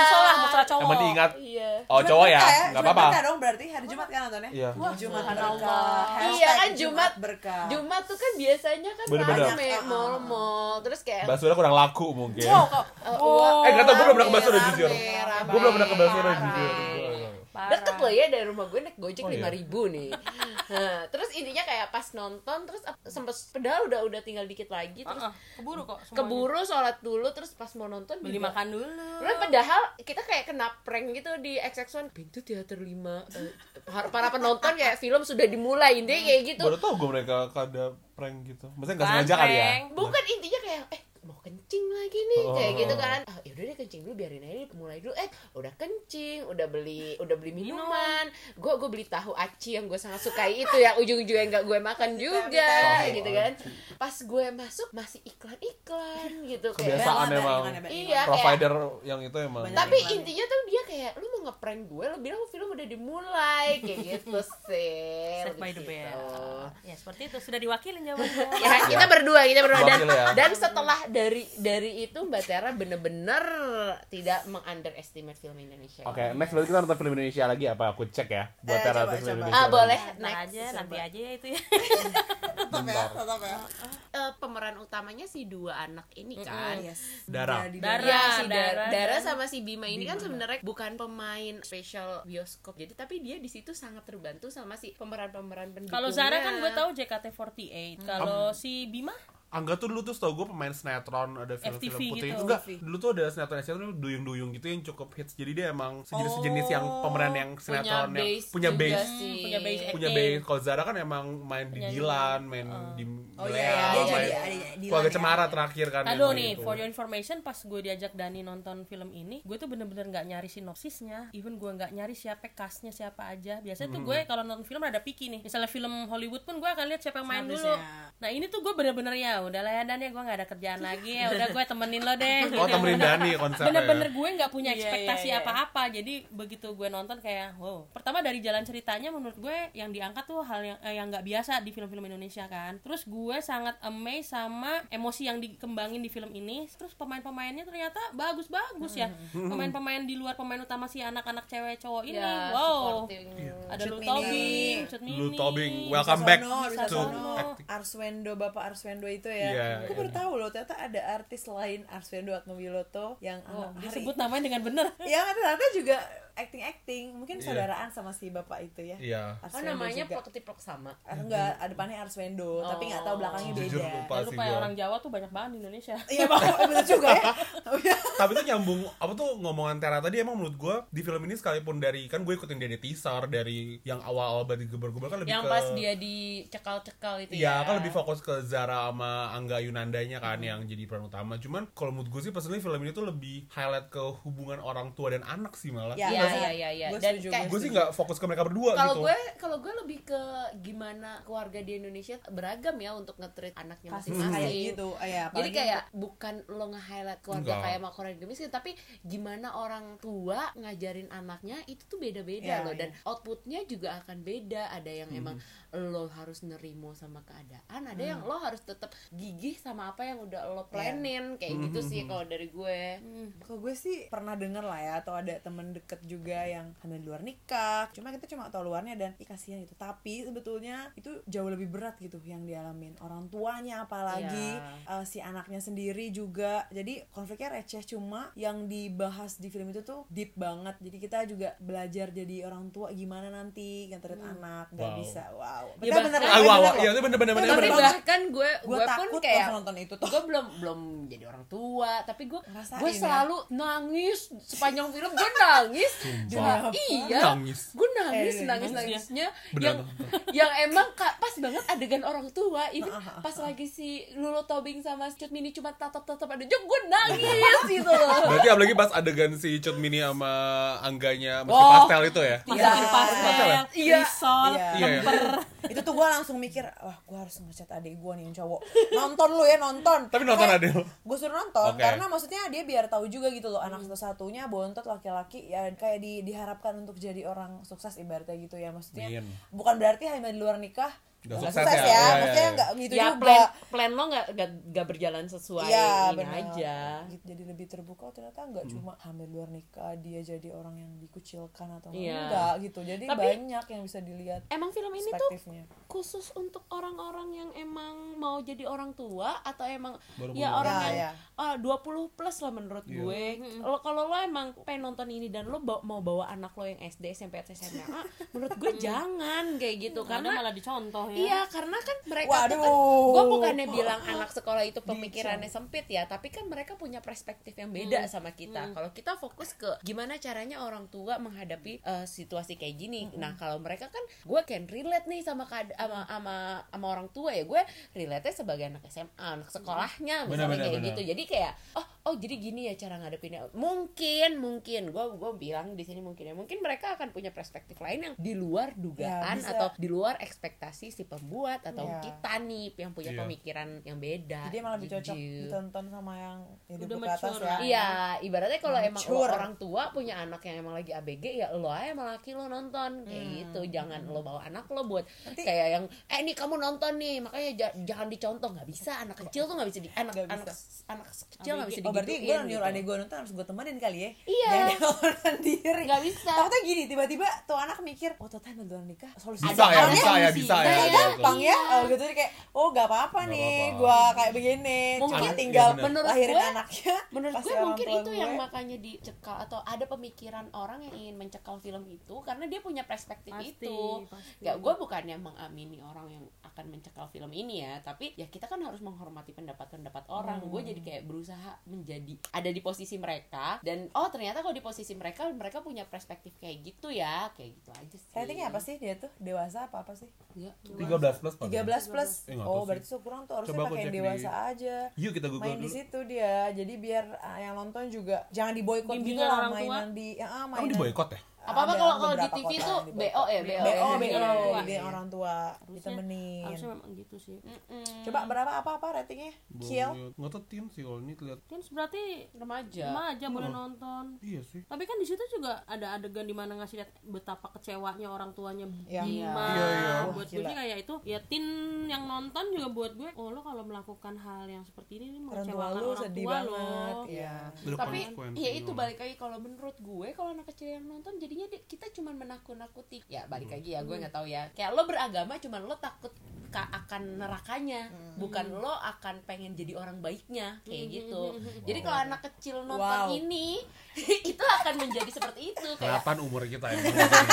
[SPEAKER 2] Musola, musola cowok.
[SPEAKER 1] Emang diingat
[SPEAKER 5] iya
[SPEAKER 1] Oh
[SPEAKER 4] Jumat
[SPEAKER 1] cowok ya,
[SPEAKER 4] berkah
[SPEAKER 1] nggak
[SPEAKER 4] Jumat
[SPEAKER 1] apa-apa
[SPEAKER 4] berkah dong berarti hari Jumat kan nontonnya?
[SPEAKER 1] Iya.
[SPEAKER 4] Wah, Jumat berkah.
[SPEAKER 2] subhanallah.
[SPEAKER 4] Hashtag
[SPEAKER 5] Iya kan Jumat
[SPEAKER 4] berkah.
[SPEAKER 5] Jumat tuh kan biasanya kan
[SPEAKER 1] Bener-bener.
[SPEAKER 5] rame mall-mall terus kayak
[SPEAKER 1] Basura kurang laku mungkin
[SPEAKER 2] Wow, kok.
[SPEAKER 5] eh,
[SPEAKER 2] Wow.
[SPEAKER 1] Eh gak tau, gue belum pernah ke
[SPEAKER 5] rame,
[SPEAKER 1] Basura
[SPEAKER 5] Iya, rame,
[SPEAKER 1] jujur
[SPEAKER 5] rame,
[SPEAKER 1] Gue belum pernah ke Basura
[SPEAKER 5] rame.
[SPEAKER 1] jujur
[SPEAKER 5] Deket loh ya dari rumah gue naik gojek
[SPEAKER 1] Oh, iya.
[SPEAKER 5] lima ribu nih. Nah, terus intinya kayak pas nonton terus ap- sempet pedal udah udah tinggal dikit lagi terus
[SPEAKER 2] Heeh, Ah, keburu kok. semuanya.
[SPEAKER 5] keburu sholat dulu terus pas mau nonton
[SPEAKER 2] beli
[SPEAKER 5] juga-
[SPEAKER 2] makan dulu.
[SPEAKER 5] Lalu padahal kita kayak kena prank gitu di XX1 Pintu teater 5 Para penonton kayak film sudah dimulai Intinya kayak gitu
[SPEAKER 1] Baru tau gue mereka ada prank gitu Maksudnya gak
[SPEAKER 2] Bukan
[SPEAKER 1] sengaja kali ya
[SPEAKER 2] prank.
[SPEAKER 5] bukan intinya kayak eh mau kencing lagi nih kayak
[SPEAKER 1] Oh.
[SPEAKER 5] gitu kan ah, yaudah deh kencing dulu biarin aja mulai dulu eh udah kencing udah beli udah beli minuman gue gue beli tahu aci yang gue sangat sukai itu ya ujung-ujungnya nggak gue makan juga
[SPEAKER 1] Tahu
[SPEAKER 5] gitu kan pas gue masuk masih iklan-iklan gitu kayak
[SPEAKER 1] Kebiasaan
[SPEAKER 4] Banget,
[SPEAKER 1] emang
[SPEAKER 4] banget, banget.
[SPEAKER 5] iya kayak
[SPEAKER 1] Provider yang itu emang
[SPEAKER 4] Banyak.
[SPEAKER 5] tapi
[SPEAKER 4] Iklan.
[SPEAKER 5] intinya tuh dia kayak lu mau ngeprank gue lu bilang film udah dimulai kayak gitu sih
[SPEAKER 2] Saved by the
[SPEAKER 5] Gitu.
[SPEAKER 2] bell. Ya, seperti itu sudah diwakilin jawabannya.
[SPEAKER 5] ya, kita berdua kita berdua dan,
[SPEAKER 1] Wakil Iya. ya.
[SPEAKER 5] dan setelah dari dari itu mbak Tera bener-bener tidak meng-underestimate film Indonesia
[SPEAKER 1] Oke, next berarti kita nonton film Indonesia lagi apa? Aku cek ya Buat
[SPEAKER 4] Eh,
[SPEAKER 1] Tera
[SPEAKER 4] coba,
[SPEAKER 1] tuh film
[SPEAKER 4] coba.
[SPEAKER 1] Indonesia
[SPEAKER 5] ah boleh
[SPEAKER 2] Ntar
[SPEAKER 5] next
[SPEAKER 2] aja, nanti aja ya itu ya.
[SPEAKER 4] Tetap ya, tetap ya.
[SPEAKER 5] Eh, pemeran utamanya si dua anak ini kan
[SPEAKER 4] Yes.
[SPEAKER 1] Dara.
[SPEAKER 4] Jadi
[SPEAKER 2] Dara.
[SPEAKER 5] Ya, si Dara,
[SPEAKER 2] Dara,
[SPEAKER 5] Dara
[SPEAKER 2] Dara.
[SPEAKER 5] sama si Bima ini kan sebenarnya bukan pemain spesial bioskop. Jadi tapi dia di situ sangat terbantu sama si pemeran-pemeran pendukungnya.
[SPEAKER 2] Kalau Zara kan gue tahu
[SPEAKER 5] Ya,
[SPEAKER 2] JKT48. Kalau si Bima
[SPEAKER 1] Angga tuh dulu tuh tau gue pemain sinetron ada film-film
[SPEAKER 2] FTV
[SPEAKER 1] putih
[SPEAKER 2] gitu.
[SPEAKER 1] enggak
[SPEAKER 4] FTV.
[SPEAKER 1] dulu tuh ada sinetron sinetron dulu duyung-duyung gitu yang cukup hits jadi dia emang sejenis sejenis yang pemeran yang sinetron yang punya
[SPEAKER 5] juga
[SPEAKER 1] base
[SPEAKER 5] sih.
[SPEAKER 2] Hmm, punya base
[SPEAKER 1] punya
[SPEAKER 2] acting.
[SPEAKER 1] base kalau Zara kan emang main di
[SPEAKER 2] Penyanyi.
[SPEAKER 1] Dilan main di
[SPEAKER 4] Oh
[SPEAKER 1] Leal,
[SPEAKER 4] iya, dia jadi
[SPEAKER 1] main
[SPEAKER 4] adiknya Dilan
[SPEAKER 1] keluarga
[SPEAKER 4] ya.
[SPEAKER 1] cemara terakhir kan
[SPEAKER 2] Aduh
[SPEAKER 1] yang
[SPEAKER 2] nih,
[SPEAKER 1] gitu.
[SPEAKER 2] for your information pas gue diajak Dani nonton film ini, gue tuh bener-bener nggak nyari sinopsisnya, even gue nggak nyari siapa castnya siapa aja. Biasanya tuh gue kalau nonton film ada picky nih, misalnya film Hollywood pun gue akan lihat siapa yang main dulu.
[SPEAKER 4] Seharusnya.
[SPEAKER 2] Nah ini tuh gue bener-bener ya udahlah ya Dan ya gue nggak ada kerjaan lagi ya udah gue temenin ya lo deh gitu.
[SPEAKER 1] Oh temenin Dani konsernya.
[SPEAKER 2] bener-bener gue nggak punya
[SPEAKER 4] Iya, iya,
[SPEAKER 2] ekspektasi
[SPEAKER 4] iya.
[SPEAKER 2] apa-apa jadi begitu gue nonton kayak wow pertama dari jalan ceritanya menurut gue yang diangkat tuh hal yang eh, yang nggak biasa di film-film Indonesia kan terus gue sangat amazed sama emosi yang dikembangin di film ini terus pemain-pemainnya ternyata bagus-bagus ya
[SPEAKER 4] Hmm.
[SPEAKER 2] pemain-pemain di luar pemain utama si anak-anak cewek cowok ini
[SPEAKER 5] Ya,
[SPEAKER 2] wow
[SPEAKER 5] supporting.
[SPEAKER 1] Iya.
[SPEAKER 2] ada Lu
[SPEAKER 4] Cut
[SPEAKER 2] Tobing,
[SPEAKER 4] Iya, Mini.
[SPEAKER 2] Cut
[SPEAKER 1] Lu
[SPEAKER 2] Mini.
[SPEAKER 1] Tobing, welcome back
[SPEAKER 4] Sono, Risa
[SPEAKER 1] to
[SPEAKER 4] Sono,
[SPEAKER 1] acting.
[SPEAKER 4] Arswendo, Bapak Arswendo itu
[SPEAKER 1] Iya,
[SPEAKER 4] ya.
[SPEAKER 1] iya.
[SPEAKER 4] Gue baru tahu loh, ternyata ada artis lain Arswendo Atmowiloto yang
[SPEAKER 2] Oh,
[SPEAKER 4] anak hari.
[SPEAKER 2] disebut namanya dengan benar
[SPEAKER 4] Yang ternyata juga acting-acting, mungkin
[SPEAKER 1] Iya.
[SPEAKER 4] saudaraan sama si Bapak itu ya.
[SPEAKER 1] Iya.
[SPEAKER 5] Oh
[SPEAKER 4] Arswendo
[SPEAKER 5] namanya
[SPEAKER 4] juga.
[SPEAKER 5] plok sama.
[SPEAKER 4] Ah, enggak, ada depannya Arswendo, tapi nggak tahu belakangnya beda.
[SPEAKER 1] Oh, Jujur lupa
[SPEAKER 2] Jangan
[SPEAKER 1] sih
[SPEAKER 2] lupa ya,
[SPEAKER 1] gua.
[SPEAKER 2] orang Jawa tuh banyak banget di Indonesia
[SPEAKER 4] Iya, Bang, eh, bener juga ya.
[SPEAKER 1] Tapi tuh nyambung apa tuh ngomongan Tera tadi emang menurut gue di film ini sekalipun dari kan gue ikutin dari teaser dari yang awal-awal dari geber-geber kan lebih
[SPEAKER 2] yang
[SPEAKER 1] ke
[SPEAKER 2] pas dia dicekal-cekal itu
[SPEAKER 1] Iya,
[SPEAKER 2] ya
[SPEAKER 1] kan lebih fokus ke Zara sama Angga Yunandanya kan yang jadi peran utama. Cuman kalau menurut gue sih personally film ini tuh lebih highlight ke hubungan orang tua dan anak sih malah.
[SPEAKER 4] Ya,
[SPEAKER 5] Iya,
[SPEAKER 4] masa-
[SPEAKER 5] iya, iya, iya.
[SPEAKER 4] Gua
[SPEAKER 5] Dan
[SPEAKER 4] setuju,
[SPEAKER 5] kayak-
[SPEAKER 1] Gue sih nggak fokus ke mereka berdua
[SPEAKER 5] Kalau
[SPEAKER 1] gitu.
[SPEAKER 5] gue kalau gue lebih ke gimana keluarga di Indonesia beragam ya untuk nge-treat anaknya
[SPEAKER 4] Pasti
[SPEAKER 5] masing-masing.
[SPEAKER 4] kayak gitu. Eh, ya,
[SPEAKER 5] Jadi
[SPEAKER 4] apalagi-
[SPEAKER 5] kayak bukan lo nge-highlight keluarga
[SPEAKER 1] Enggak.
[SPEAKER 5] kayak makanan miskin tapi gimana orang tua ngajarin anaknya itu tuh
[SPEAKER 4] Ya,
[SPEAKER 5] beda-beda loh
[SPEAKER 4] iya.
[SPEAKER 5] dan outputnya juga akan beda. Ada yang
[SPEAKER 1] Hmm.
[SPEAKER 5] emang lo harus nerimo sama keadaan, ada
[SPEAKER 4] Hmm.
[SPEAKER 5] yang lo harus tetap gigih sama apa yang udah
[SPEAKER 4] Iya.
[SPEAKER 5] lo planning kayak gitu sih
[SPEAKER 1] Hmm.
[SPEAKER 5] kalau dari gue.
[SPEAKER 4] Kalau gue sih pernah denger lah ya atau ada temen deket juga yang hamil di luar nikah. Cuma kita cuma tahu luarnya dan ih kasihan gitu. Tapi sebetulnya itu jauh lebih berat gitu yang dialamin orang tuanya apalagi eh, si anaknya sendiri juga. Jadi konfliknya receh cuma yang dibahas di film itu tuh deep banget. Jadi kita juga belajar jadi orang tua gimana nanti nganterin anak nggak
[SPEAKER 1] Wow.
[SPEAKER 4] bisa. Wow.
[SPEAKER 5] Ya,
[SPEAKER 4] Bener-bener
[SPEAKER 5] bahkan-
[SPEAKER 1] Ah, wow,
[SPEAKER 4] loh, bener
[SPEAKER 1] wow.
[SPEAKER 4] loh.
[SPEAKER 1] Iya, itu bener-bener
[SPEAKER 4] Tapi
[SPEAKER 1] bener-bener.
[SPEAKER 5] Tapi
[SPEAKER 4] banget.
[SPEAKER 5] bahkan Kan gue
[SPEAKER 4] Gue
[SPEAKER 5] gue pun
[SPEAKER 4] takut
[SPEAKER 5] kayak
[SPEAKER 4] pas nonton itu tuh.
[SPEAKER 5] gue belum belum jadi orang tua tapi gue
[SPEAKER 4] Ngerasain
[SPEAKER 5] gue
[SPEAKER 4] ya.
[SPEAKER 5] selalu nangis sepanjang film gue nangis
[SPEAKER 1] Sumpah.
[SPEAKER 5] Nah, iya
[SPEAKER 1] Nangis.
[SPEAKER 5] gue nangis
[SPEAKER 4] Eh,
[SPEAKER 5] nangis
[SPEAKER 2] nangis
[SPEAKER 5] nangisnya yang
[SPEAKER 1] Beneran
[SPEAKER 5] yang emang ka- pas banget adegan orang tua even pas lagi si Lulu Tobing sama si Cut Mini cuma tatap tatap ada gue nangis gitu loh
[SPEAKER 1] Berarti apalagi pas adegan si Cut Mini sama Angganya masih
[SPEAKER 5] Oh.
[SPEAKER 1] pastel itu ya.
[SPEAKER 2] Iya,
[SPEAKER 4] Iya.
[SPEAKER 2] pastel,
[SPEAKER 5] Iya.
[SPEAKER 2] risol,
[SPEAKER 4] Iya.
[SPEAKER 1] Iya.
[SPEAKER 4] itu tuh gue langsung mikir wah gue harus ngechat adik gue nih yang cowok nonton lu ya nonton
[SPEAKER 1] Tapi nonton adek lu?
[SPEAKER 4] gue suruh nonton
[SPEAKER 1] Oke.
[SPEAKER 4] karena maksudnya dia biar tahu juga gitu loh
[SPEAKER 5] Hmm.
[SPEAKER 4] anak satu-satunya bontot laki-laki ya kayak di- diharapkan untuk jadi orang sukses ibaratnya gitu ya maksudnya
[SPEAKER 1] Amin.
[SPEAKER 4] bukan berarti hanya di luar nikah
[SPEAKER 1] Nggak
[SPEAKER 4] nggak
[SPEAKER 1] sukses ya.
[SPEAKER 4] sukses,
[SPEAKER 1] Iya,
[SPEAKER 4] ya,
[SPEAKER 1] iya,
[SPEAKER 4] maksudnya
[SPEAKER 1] iya.
[SPEAKER 4] nggak gitu
[SPEAKER 5] ya
[SPEAKER 4] juga
[SPEAKER 5] plan plan lo nggak nggak- nggak berjalan sesuai
[SPEAKER 4] Iya
[SPEAKER 5] ini
[SPEAKER 4] benar.
[SPEAKER 5] aja
[SPEAKER 4] Gitu, jadi lebih terbuka oh, ternyata nggak
[SPEAKER 1] Hmm.
[SPEAKER 4] cuma hamil luar nikah dia jadi orang yang dikucilkan atau
[SPEAKER 5] Iya.
[SPEAKER 4] enggak gitu. Jadi
[SPEAKER 5] Tapi-
[SPEAKER 4] banyak yang bisa dilihat
[SPEAKER 5] emang film ini tuh
[SPEAKER 4] perspektifnya.
[SPEAKER 5] khusus untuk orang-orang yang emang mau jadi orang tua atau emang
[SPEAKER 1] Baru Iya.
[SPEAKER 5] ya
[SPEAKER 1] mulai.
[SPEAKER 5] orang
[SPEAKER 4] Ya,
[SPEAKER 5] yang
[SPEAKER 4] ya.
[SPEAKER 5] eh, 20 plus lah menurut gue. Lo kalau lo emang pengen nonton ini dan lo ba- mau bawa anak lo yang SD, SMP, atau SMA, menurut gue jangan kayak gitu
[SPEAKER 4] Iya.
[SPEAKER 2] karena
[SPEAKER 5] karena
[SPEAKER 2] malah dicontoh ya
[SPEAKER 5] Iya, karena kan mereka tuh kan
[SPEAKER 4] Waduh.
[SPEAKER 5] gue bukannya bilang anak sekolah itu pemikirannya sempit ya, tapi kan mereka punya perspektif yang beda sama kita. Kalau kita fokus ke gimana caranya orang tua menghadapi eh, situasi kayak gini. Nah, kalau mereka kan gue can relate nih sama keada- sama sama, sama orang tua ya. Gue relate-nya sebagai anak SMA, anak sekolahnya misalnya
[SPEAKER 1] Benar, benar,
[SPEAKER 5] kayak
[SPEAKER 1] benar.
[SPEAKER 5] gitu. Jadi kayak oh oh jadi gini ya cara ngadepinnya. Mungkin mungkin gue gue bilang di sini mungkin ya. Mungkin mereka akan punya perspektif lain yang di luar dugaan
[SPEAKER 4] bisa.
[SPEAKER 5] atau di luar ekspektasi si pembuat atau
[SPEAKER 4] Iya.
[SPEAKER 5] kita nih yang punya
[SPEAKER 1] Iya.
[SPEAKER 5] pemikiran yang beda.
[SPEAKER 4] Jadi malah lebih cocok gitu.
[SPEAKER 5] Jujur.
[SPEAKER 4] ditonton sama yang hidup
[SPEAKER 2] Udah
[SPEAKER 4] ke atas
[SPEAKER 2] mature
[SPEAKER 4] ya.
[SPEAKER 2] lah.
[SPEAKER 5] Iya, ibaratnya kalau emang lo
[SPEAKER 4] Mature.
[SPEAKER 5] orang tua punya anak yang emang lagi ABG ya lo aja sama laki lo nonton kayak
[SPEAKER 4] Hmm.
[SPEAKER 5] gitu. Jangan lo bawa anak lo buat kayak yang eh nih kamu nonton nih, makanya ja- jangan dicontoh nggak bisa anak kecil tuh nggak bisa di anak
[SPEAKER 4] Nggak bisa.
[SPEAKER 5] anak anak kecil nggak bisa
[SPEAKER 4] Oh berarti gue
[SPEAKER 5] digituin
[SPEAKER 4] nyuruh
[SPEAKER 5] gitu.
[SPEAKER 4] adik gue nonton harus gue temenin kali ya
[SPEAKER 5] Iya.
[SPEAKER 4] Jangan dia nonton sendiri
[SPEAKER 5] Nggak bisa.
[SPEAKER 4] Takutnya gini tiba-tiba tuh anak mikir Oh tata hamil luar nikah Solusi
[SPEAKER 1] Bisa ya,
[SPEAKER 4] soalnya
[SPEAKER 1] bisa ya, bisa ya.
[SPEAKER 4] kayak
[SPEAKER 1] Iya,
[SPEAKER 4] gampang ya oh, gitu Jadi kayak oh gak apa-apa
[SPEAKER 1] Nggak
[SPEAKER 4] nih
[SPEAKER 1] apa-apa.
[SPEAKER 4] gue kayak begini Cuma
[SPEAKER 5] Mungkin-
[SPEAKER 4] tinggal
[SPEAKER 1] Iya, bener.
[SPEAKER 5] Menurut
[SPEAKER 4] lahirin
[SPEAKER 5] gue-
[SPEAKER 4] anaknya
[SPEAKER 5] menurut
[SPEAKER 4] kasih
[SPEAKER 5] gue
[SPEAKER 4] orang
[SPEAKER 5] mungkin
[SPEAKER 4] tua
[SPEAKER 5] itu
[SPEAKER 4] gue.
[SPEAKER 5] yang makanya dicekal atau ada pemikiran orang yang ingin mencekal film itu karena dia punya perspektif
[SPEAKER 2] Pasti,
[SPEAKER 5] itu
[SPEAKER 2] pasti.
[SPEAKER 5] ya gue bukannya mengamini orang yang akan mencekal film ini ya tapi ya kita kan harus menghormati pendapat-pendapat orang gue jadi kayak berusaha menjadi ada di posisi mereka dan oh ternyata kalau di posisi mereka mereka punya perspektif kayak gitu ya kayak gitu aja sih
[SPEAKER 4] Ratingnya apa sih dia tuh? Dewasa apa apa sih?
[SPEAKER 5] Iya.
[SPEAKER 1] 13 plus
[SPEAKER 4] 13 plus
[SPEAKER 1] Eh, nggak tahu
[SPEAKER 4] Oh
[SPEAKER 1] sih.
[SPEAKER 4] berarti kurang tuh harusnya
[SPEAKER 1] Coba aku
[SPEAKER 4] pakai
[SPEAKER 1] cek di-
[SPEAKER 4] dewasa aja
[SPEAKER 1] Yuk kita google
[SPEAKER 4] main di
[SPEAKER 1] dulu.
[SPEAKER 4] situ dia jadi biar ah, yang nonton juga jangan diboykot gitu
[SPEAKER 2] Bimbingan
[SPEAKER 4] lah
[SPEAKER 2] orang tua.
[SPEAKER 4] mainan di ya, ah,
[SPEAKER 1] Kamu
[SPEAKER 4] mainan
[SPEAKER 1] di boykot ya?
[SPEAKER 4] ada
[SPEAKER 5] Apa-apa kalau kalau di
[SPEAKER 4] beberapa
[SPEAKER 5] TV
[SPEAKER 4] kota
[SPEAKER 5] tuh
[SPEAKER 4] yang di-
[SPEAKER 5] BO ya, BO.
[SPEAKER 4] BO, BO,
[SPEAKER 2] Bimbingan
[SPEAKER 4] orang
[SPEAKER 2] orang
[SPEAKER 4] tua,
[SPEAKER 2] tua.
[SPEAKER 4] orang tua
[SPEAKER 2] Harusnya-
[SPEAKER 4] ditemenin.
[SPEAKER 2] harusnya memang gitu sih
[SPEAKER 4] Mm.
[SPEAKER 5] Mm-mm.
[SPEAKER 4] Coba berapa apa-apa ratingnya? Kiel.
[SPEAKER 1] Nggak tau tim sih kalau ini kelihatan.
[SPEAKER 2] kan berarti
[SPEAKER 5] remaja.
[SPEAKER 2] emang aja boleh
[SPEAKER 4] mm.
[SPEAKER 1] Hmm.
[SPEAKER 2] nonton
[SPEAKER 1] Iya sih.
[SPEAKER 2] tapi kan di situ juga ada adegan di mana ngasih lihat betapa kecewanya orang tuanya
[SPEAKER 4] Iya.
[SPEAKER 2] gimana
[SPEAKER 1] Iya, iya.
[SPEAKER 2] buat
[SPEAKER 4] Wah,
[SPEAKER 2] gue
[SPEAKER 4] gila.
[SPEAKER 2] sih kayak itu ya tin yang nonton juga buat gue oh lo kalau melakukan hal yang seperti ini ini
[SPEAKER 4] Orang tua
[SPEAKER 2] mengecewakan
[SPEAKER 4] lu
[SPEAKER 2] orang
[SPEAKER 4] sedih
[SPEAKER 2] tua lo
[SPEAKER 4] banget. Iya.
[SPEAKER 1] Ada
[SPEAKER 5] tapi
[SPEAKER 1] konsekuensi
[SPEAKER 5] ya itu
[SPEAKER 1] dong.
[SPEAKER 5] balik lagi kalau menurut gue kalau anak kecil yang nonton jadinya di- kita cuman menakut-nakuti ya balik
[SPEAKER 1] Hmm.
[SPEAKER 5] lagi ya gue nggak tahu ya kayak lo beragama cuman lo takut ka- akan nerakanya bukan lo akan pengen jadi orang baiknya kayak gitu jadi kalau anak kecil nonton
[SPEAKER 4] Wow.
[SPEAKER 5] ini itu akan menjadi seperti itu kayak
[SPEAKER 1] Kelihatan umur kita ya.
[SPEAKER 4] Kelihatan